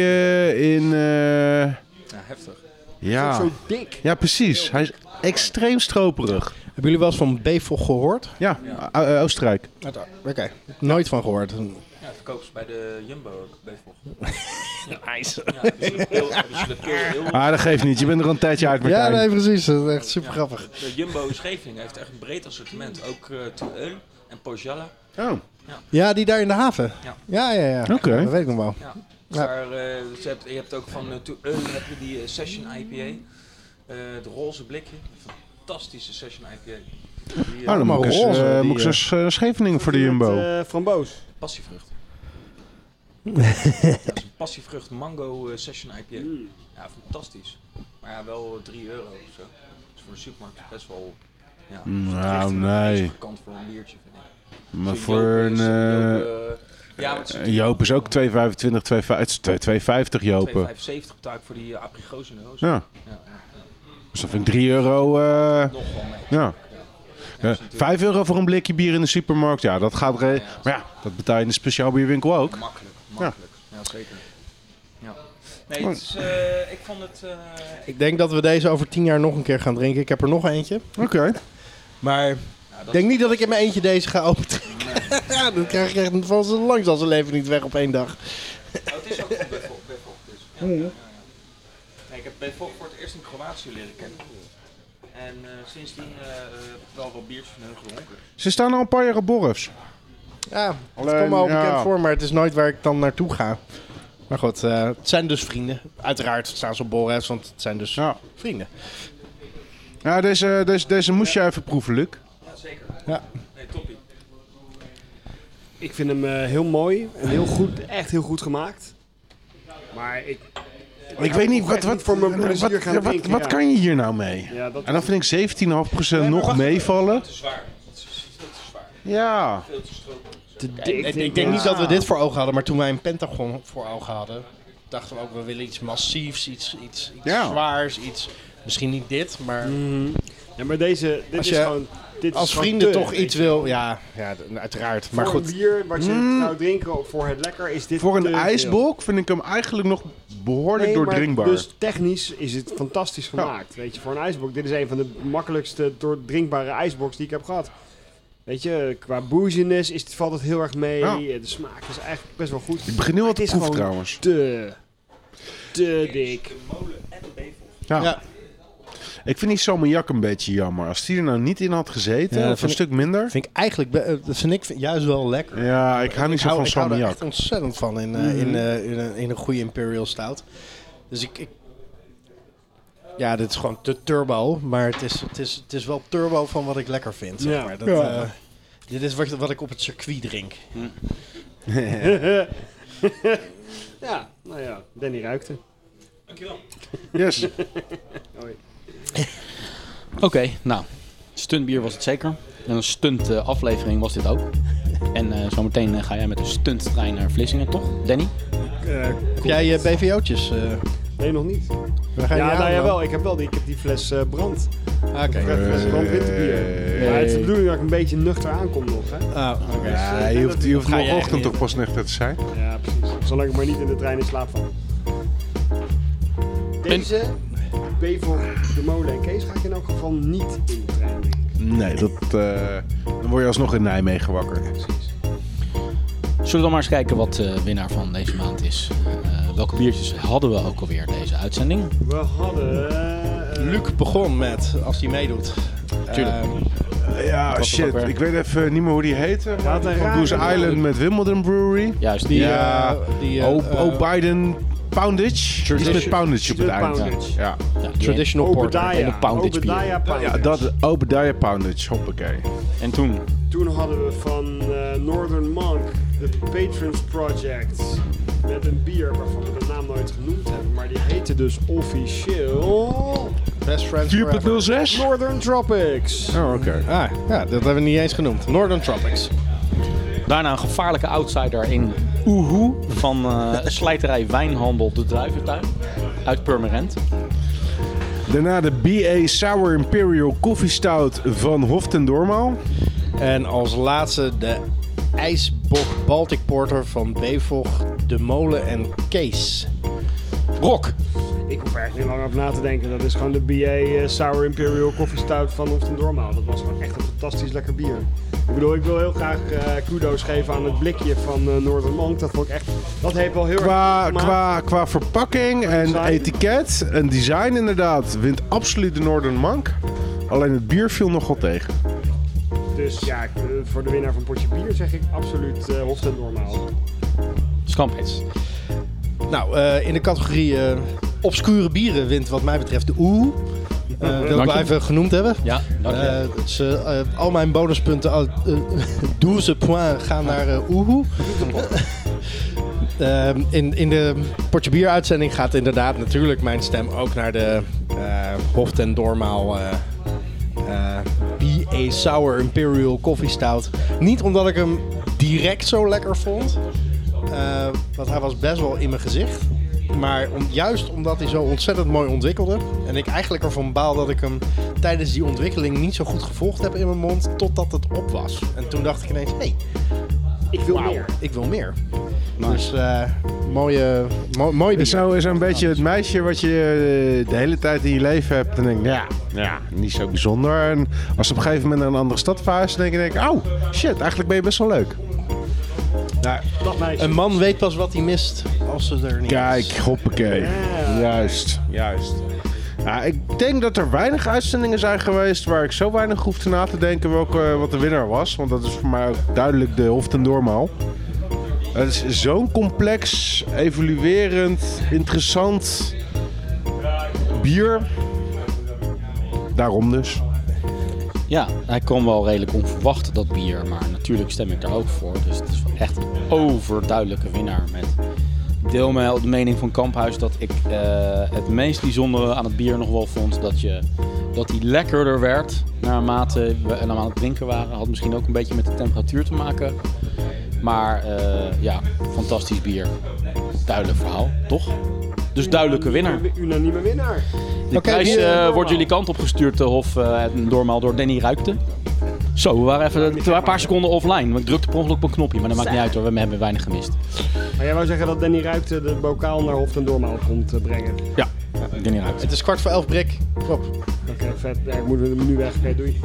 Speaker 5: in. eh,
Speaker 6: Ja, heftig.
Speaker 5: ja.
Speaker 4: Zo dik.
Speaker 5: ja, precies. Hij is extreem stroperig.
Speaker 7: Hebben jullie wel eens van Bevog gehoord?
Speaker 5: Ja, O- O- Oostenrijk.
Speaker 7: Oké. Nooit van gehoord.
Speaker 6: Ja, verkopen ze bij de Jumbo ook bij volgen. IJs. Ja, dus de pil- dus de pil- heel-
Speaker 5: Ah, dat geeft niet. Je bent er al een tijdje uit,
Speaker 7: Ja,
Speaker 5: Martijn.
Speaker 7: nee, precies. Dat is echt super grappig.
Speaker 6: de Jumbo in Scheveningen heeft echt een breed assortiment. Ook eh Tueul en Pojalla.
Speaker 5: Oh,
Speaker 7: Ja, die daar in de haven.
Speaker 6: Ja.
Speaker 7: ja, ja. ja.
Speaker 5: Oké.
Speaker 7: Dat weet ik nog wel.
Speaker 6: Ja.
Speaker 7: Ja.
Speaker 6: Daar, eh, je, hebt, je hebt ook van eh Tueul heb je die eh, Session IPA. Eh, het roze blikje. Fantastische Session IPA. Die, eh,
Speaker 5: oh dan
Speaker 7: Maar
Speaker 5: moet ik eens, eh,
Speaker 7: roze, die,
Speaker 5: moet ik eens eh, Scheveningen voor de Jumbo.
Speaker 4: Met, eh, framboos.
Speaker 6: Passievrucht. dat is een passievrucht mango eh, session IPA. Ja, fantastisch. Maar ja, wel 3 euro of zo. Dus voor de supermarkt is best wel Ja.
Speaker 5: Nou,
Speaker 6: Echt een
Speaker 5: nee.
Speaker 6: beetje gekant voor een biertje, vind ik.
Speaker 5: Maar
Speaker 6: Zo'n
Speaker 5: voor
Speaker 6: Joop
Speaker 5: een...
Speaker 6: is-
Speaker 5: eh,
Speaker 6: Joop, eh, ja, maar het is
Speaker 5: Een Joop is ook 2,25, 2,50. Het is 2,50 Jopen.
Speaker 6: 2,75 betaal ik voor die uh, aprigozen roos.
Speaker 5: Ja,
Speaker 6: Ja, ja.
Speaker 5: dus dat vind ik 3 euro. eh,
Speaker 6: Nog wel mee.
Speaker 5: ja. Ja,
Speaker 6: Ja, is natuurlijk
Speaker 5: 5 euro voor een blikje bier in de supermarkt. Ja, dat gaat. re- Maar ja, dat betaal je in de speciaalbierwinkel ook.
Speaker 6: Makkelijk, makkelijk. Ja, zeker. Ja. Nee, het is, eh, ik vond het... eh,
Speaker 7: Ik denk dat we deze over tien jaar nog een keer gaan drinken. Ik heb er nog eentje.
Speaker 5: Oké.
Speaker 7: Maar ik
Speaker 6: nou, dat
Speaker 7: denk niet dat ik in mijn eentje deze ga opentrekken. ja, dat krijg ik echt van zo langs als een leven niet weg op één dag.
Speaker 6: Oh, het is ook van Buffel. Buffel dus. Ja, ja, ja, ja. Nee, ik heb Buffel voor het eerst in Kroatië leren kennen. En eh, sindsdien eh, eh, wel wat biertjes van hun gedronken.
Speaker 5: Ze staan al een paar jaar op Borrefs.
Speaker 7: Ja, het
Speaker 5: Alleen,
Speaker 7: komt me al bekend
Speaker 5: ja.
Speaker 7: voor, maar het is nooit waar ik dan naartoe ga. Maar goed, eh, het zijn dus vrienden. Uiteraard staan ze op Borrefs, want het zijn dus
Speaker 5: Ja.
Speaker 7: vrienden.
Speaker 5: Ja, deze, deze, deze moest je even proeven, Luc.
Speaker 6: Ja, zeker.
Speaker 7: Ja.
Speaker 6: Nee, toppie.
Speaker 4: Ik vind hem eh, heel mooi en heel goed, echt heel goed gemaakt. Maar ik,
Speaker 5: Ik weet niet, wat,
Speaker 4: echt
Speaker 5: wat,
Speaker 4: niet voor mijn
Speaker 5: wat,
Speaker 4: plezier gaan
Speaker 5: wat, wat,
Speaker 4: drinken, ja.
Speaker 5: kan je hier nou mee?
Speaker 4: ja, dat
Speaker 5: En dan vind ik 17,5% nog meevallen.
Speaker 6: Te zwaar. Het is veel te zwaar.
Speaker 5: Ja.
Speaker 6: Veel te stroperig.
Speaker 4: te dik.
Speaker 7: Ik, ik denk niet dat we dit voor ogen hadden, maar toen wij een Pentagon voor ogen hadden, dachten we ook, we willen iets massiefs, iets, iets, iets
Speaker 5: Ja.
Speaker 7: zwaars, iets... Misschien niet dit, maar
Speaker 4: Ja, maar deze, dit
Speaker 7: Als
Speaker 4: is
Speaker 7: je
Speaker 4: gewoon... Dit
Speaker 7: als
Speaker 4: is gewoon
Speaker 7: vrienden
Speaker 4: te,
Speaker 7: toch
Speaker 4: weet
Speaker 7: iets
Speaker 4: je.
Speaker 7: wil... Ja, ja d- uiteraard. Maar
Speaker 4: voor
Speaker 7: goed,
Speaker 4: een bier wat je nou drinken of voor het lekker is dit
Speaker 5: Mm. Voor
Speaker 4: te
Speaker 5: een
Speaker 4: veel.
Speaker 5: ijsbok vind ik hem eigenlijk nog behoorlijk
Speaker 4: Nee, maar
Speaker 5: doordringbaar.
Speaker 4: Dus technisch is het fantastisch gemaakt. Weet je, voor een ijsbok. Dit is een van de makkelijkste doordrinkbare ijsboks die ik heb gehad. Weet je, qua booziness is, valt het heel erg mee.
Speaker 5: Ja.
Speaker 4: De smaak is eigenlijk best wel goed.
Speaker 5: Ik begin nu al
Speaker 4: Het
Speaker 5: te
Speaker 4: is
Speaker 5: proeven
Speaker 4: gewoon
Speaker 5: trouwens.
Speaker 4: Te, te dik.
Speaker 6: De molen en de bevel.
Speaker 5: Ja.
Speaker 7: Ja.
Speaker 5: Ik vind die salmiak een beetje jammer. Als die er nou niet in had gezeten,
Speaker 7: Ja, dat
Speaker 5: of een
Speaker 7: vind
Speaker 5: stuk minder.
Speaker 7: vind ik eigenlijk... be- eh, Dat vind ik vind- juist wel lekker.
Speaker 5: Ja, ik hou niet zo
Speaker 7: hou-
Speaker 5: van
Speaker 7: ik hou er
Speaker 5: salmiak.
Speaker 7: echt ontzettend van in, eh, in, eh, in, een, in een goede Imperial Stout. Dus ik, ik... Ja, dit is gewoon te turbo. Maar het is, het is, het is wel turbo van wat ik lekker vind. Zeg
Speaker 4: Ja.
Speaker 7: maar. Dat,
Speaker 5: Ja.
Speaker 7: eh, dit is wat, wat ik op het circuit drink.
Speaker 4: ja, nou ja, Danny ruikte.
Speaker 6: Dankjewel.
Speaker 5: Yes.
Speaker 1: Oké, nou. Stuntbier was het zeker. En een stunt eh, aflevering was dit ook. En eh, zometeen eh, ga jij met een stunttrein naar Vlissingen, toch, Danny?
Speaker 4: Eh,
Speaker 7: Heb jij je BVO'tjes? eh
Speaker 4: nee, nog niet.
Speaker 7: waar ga je die
Speaker 4: ja, nou
Speaker 7: halen
Speaker 4: ja,
Speaker 7: dan?
Speaker 4: wel. Ik heb wel die, ik heb die fles eh, brand.
Speaker 7: Ah, Oké.
Speaker 4: Fles fles brand winterbier.
Speaker 5: Hey.
Speaker 4: Maar het is de bedoeling dat ik een beetje nuchter aankom nog, hè.
Speaker 7: Ah, oké.
Speaker 5: Ja, je hoeft, je hoeft
Speaker 7: Ga jij
Speaker 5: morgenochtend
Speaker 7: echt
Speaker 5: toch pas nuchter te zijn?
Speaker 4: Ja, precies. Zolang ik maar niet in de trein in slaap val. Deze, Bevel, De Molen en Kees ga ik in elk geval niet in de trein. drinken.
Speaker 5: Nee, dat, eh, dan word je alsnog in Nijmegen wakker.
Speaker 1: Zullen we dan maar eens kijken wat de winnaar van deze maand is? Eh, welke biertjes hadden we ook alweer deze uitzending?
Speaker 4: We hadden... eh,
Speaker 7: Luc begon met, als hij meedoet.
Speaker 1: Tuurlijk.
Speaker 7: Ehm,
Speaker 5: Ja,
Speaker 1: was het
Speaker 5: shit.
Speaker 1: ook weer?
Speaker 5: Ik weet even niet meer hoe die heette.
Speaker 4: had een
Speaker 5: Van
Speaker 4: rare
Speaker 5: Goose
Speaker 4: naam.
Speaker 5: Island met Wimbledon Brewery.
Speaker 1: Juist,
Speaker 7: die,
Speaker 5: Ja.
Speaker 7: eh, die, eh,
Speaker 5: Oh,
Speaker 7: eh,
Speaker 5: oh, Biden Poundage. Die is met Poundage op het
Speaker 4: Tradition-
Speaker 5: eind.
Speaker 4: Poundage.
Speaker 5: Ja,
Speaker 1: ja, die-
Speaker 7: Traditional Porter.
Speaker 1: en
Speaker 4: Obadiah.
Speaker 1: een poundage bier.
Speaker 4: Obadiah Poundage.
Speaker 5: ja dat, Obadiah Poundage. Hoppakee.
Speaker 1: En toen?
Speaker 4: Toen hadden we van eh, Northern Monk de Patrons Project. Met een bier waarvan we de naam nooit genoemd hebben. Maar die heette dus officieel...
Speaker 7: Best Friends Forever.
Speaker 5: 4.06?
Speaker 4: Northern Tropics.
Speaker 5: Oh, oké.
Speaker 7: Ah, ja, dat hebben we niet eens genoemd. Northern Tropics.
Speaker 1: Daarna een gevaarlijke outsider in Oehoe van eh, slijterij Wijnhandel De Druiventuin uit Purmerend.
Speaker 5: Daarna de BA Sour Imperial Coffee Stout van Hof ten Dormaal.
Speaker 7: En als laatste de IJsbok Baltic Porter van Bevog, De Molen en Kees.
Speaker 1: Brok,
Speaker 4: Ik hoef er echt niet lang over na te denken. Dat is gewoon de BA eh, Sour Imperial Coffee Stout van Hof en Dormaal. Dat was gewoon echt een fantastisch lekker bier. Ik bedoel, ik wil heel graag eh, kudos geven aan het blikje van eh Northern Monk. Dat vond ik echt... Dat heeft wel heel
Speaker 5: Qua,
Speaker 4: erg goed gemaakt.
Speaker 5: qua, qua verpakking en
Speaker 4: Design.
Speaker 5: etiket en design inderdaad wint absoluut de Northern Monk. Alleen het bier viel nogal tegen.
Speaker 4: Dus ja, ik, eh, voor de winnaar van Potje Bier zeg ik absoluut eh Hof en Dormaal.
Speaker 1: Skampeets.
Speaker 7: Nou, eh, in de categorie eh, obscure bieren wint wat mij betreft de Oeh. Eh dat
Speaker 1: je.
Speaker 7: we even genoemd hebben.
Speaker 1: Ja, dank je.
Speaker 7: Eh, dus, eh, eh, al mijn bonuspunten, al, eh, 12 points, gaan naar eh Oehoe. Ehm, in, in de Potje Bier uitzending gaat inderdaad natuurlijk mijn stem ook naar de eh Hof ten Dormaal eh, eh, IPA Sour Imperial Coffee Stout. Niet omdat ik hem direct zo lekker vond, eh, want hij was best wel in mijn gezicht. Maar om, juist omdat hij zo ontzettend mooi ontwikkelde. En ik eigenlijk ervan baal dat ik hem tijdens die ontwikkeling niet zo goed gevolgd heb in mijn mond. Totdat het op was. En toen dacht ik ineens: hé, hey,
Speaker 2: Ik wil
Speaker 7: wauw,
Speaker 2: meer.
Speaker 7: ik wil meer. Dus eh, mooie, mo- mooie
Speaker 5: Is
Speaker 7: bier.
Speaker 5: zo is zo'n beetje het meisje wat je eh, de hele tijd in je leven hebt. En denk je, ja, ja, niet zo bijzonder. En als ze op een gegeven moment naar een andere stad verhuizen, denk je, denk, ik, oh shit, eigenlijk ben je best wel leuk.
Speaker 2: Dag meisje.
Speaker 7: Een man weet pas wat hij mist als ze er niet
Speaker 5: Kijk,
Speaker 7: is.
Speaker 5: hoppakee. Juist, juist. Ja, ik denk dat er weinig uitzendingen zijn geweest waar ik zo weinig hoefde na te denken welke, eh, wat de winnaar was. Want dat is voor mij ook duidelijk de Hof ten Doormaal. Het is zo'n complex, evoluerend, interessant bier. Daarom dus.
Speaker 1: Ja, hij kwam wel redelijk onverwacht, dat bier. Maar natuurlijk stem ik daar ook voor. Dus het is echt een overduidelijke winnaar. Met ik deel mij de mening van Kamphuis dat ik eh, het meest bijzondere aan het bier nog wel vond. Dat, je, dat hij lekkerder werd naarmate we hem aan het drinken waren. Had misschien ook een beetje met de temperatuur te maken. Maar eh, ja, fantastisch bier. Duidelijk verhaal, toch? Dus duidelijke winnaar.
Speaker 2: Unanieme winnaar.
Speaker 1: De
Speaker 7: Oké,
Speaker 1: prijs
Speaker 7: wie, eh,
Speaker 1: eh,
Speaker 2: normaal?
Speaker 1: wordt jullie kant op gestuurd, eh, Hof, eh, normaal door Danny Ruikte. Zo, we waren even een paar, seconden offline. Want ik drukte per ongeluk op een knopje, maar dat maakt niet uit hoor. We hebben weinig gemist.
Speaker 2: Maar jij wou zeggen dat Danny Ruikte de bokaal naar Hof en Doormaal komt eh, brengen.
Speaker 1: Danny Ruikte.
Speaker 7: Het is kwart voor elf brik. Klopt.
Speaker 2: Oké, vet. Ja, ik moet hem nu weg. Oké, doei.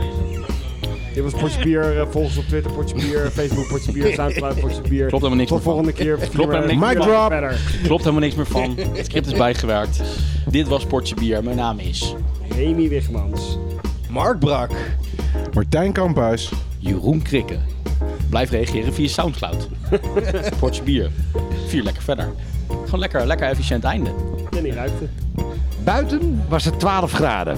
Speaker 2: Dit was Potje Bier. eh, volg ons op Twitter, Potje Bier. Facebook, Potje Bier. Soundcloud, Potje Bier.
Speaker 1: Klopt helemaal
Speaker 2: Tot
Speaker 1: niks meer van.
Speaker 2: volgende keer.
Speaker 1: Klopt helemaal niks
Speaker 5: meer van.
Speaker 2: Verder.
Speaker 1: Klopt helemaal niks meer van. Het script is bijgewerkt. Dit was Portje Bier. Mijn naam is
Speaker 2: Remy Wigmans.
Speaker 7: Mark Brak.
Speaker 5: Martijn Kamphuis.
Speaker 1: Jeroen Krikke. Blijf reageren via Soundcloud. Portje Bier. Vier lekker verder. Gewoon lekker, lekker efficiënt einde.
Speaker 2: Danny Ruikte.
Speaker 8: Buiten was het 12 graden.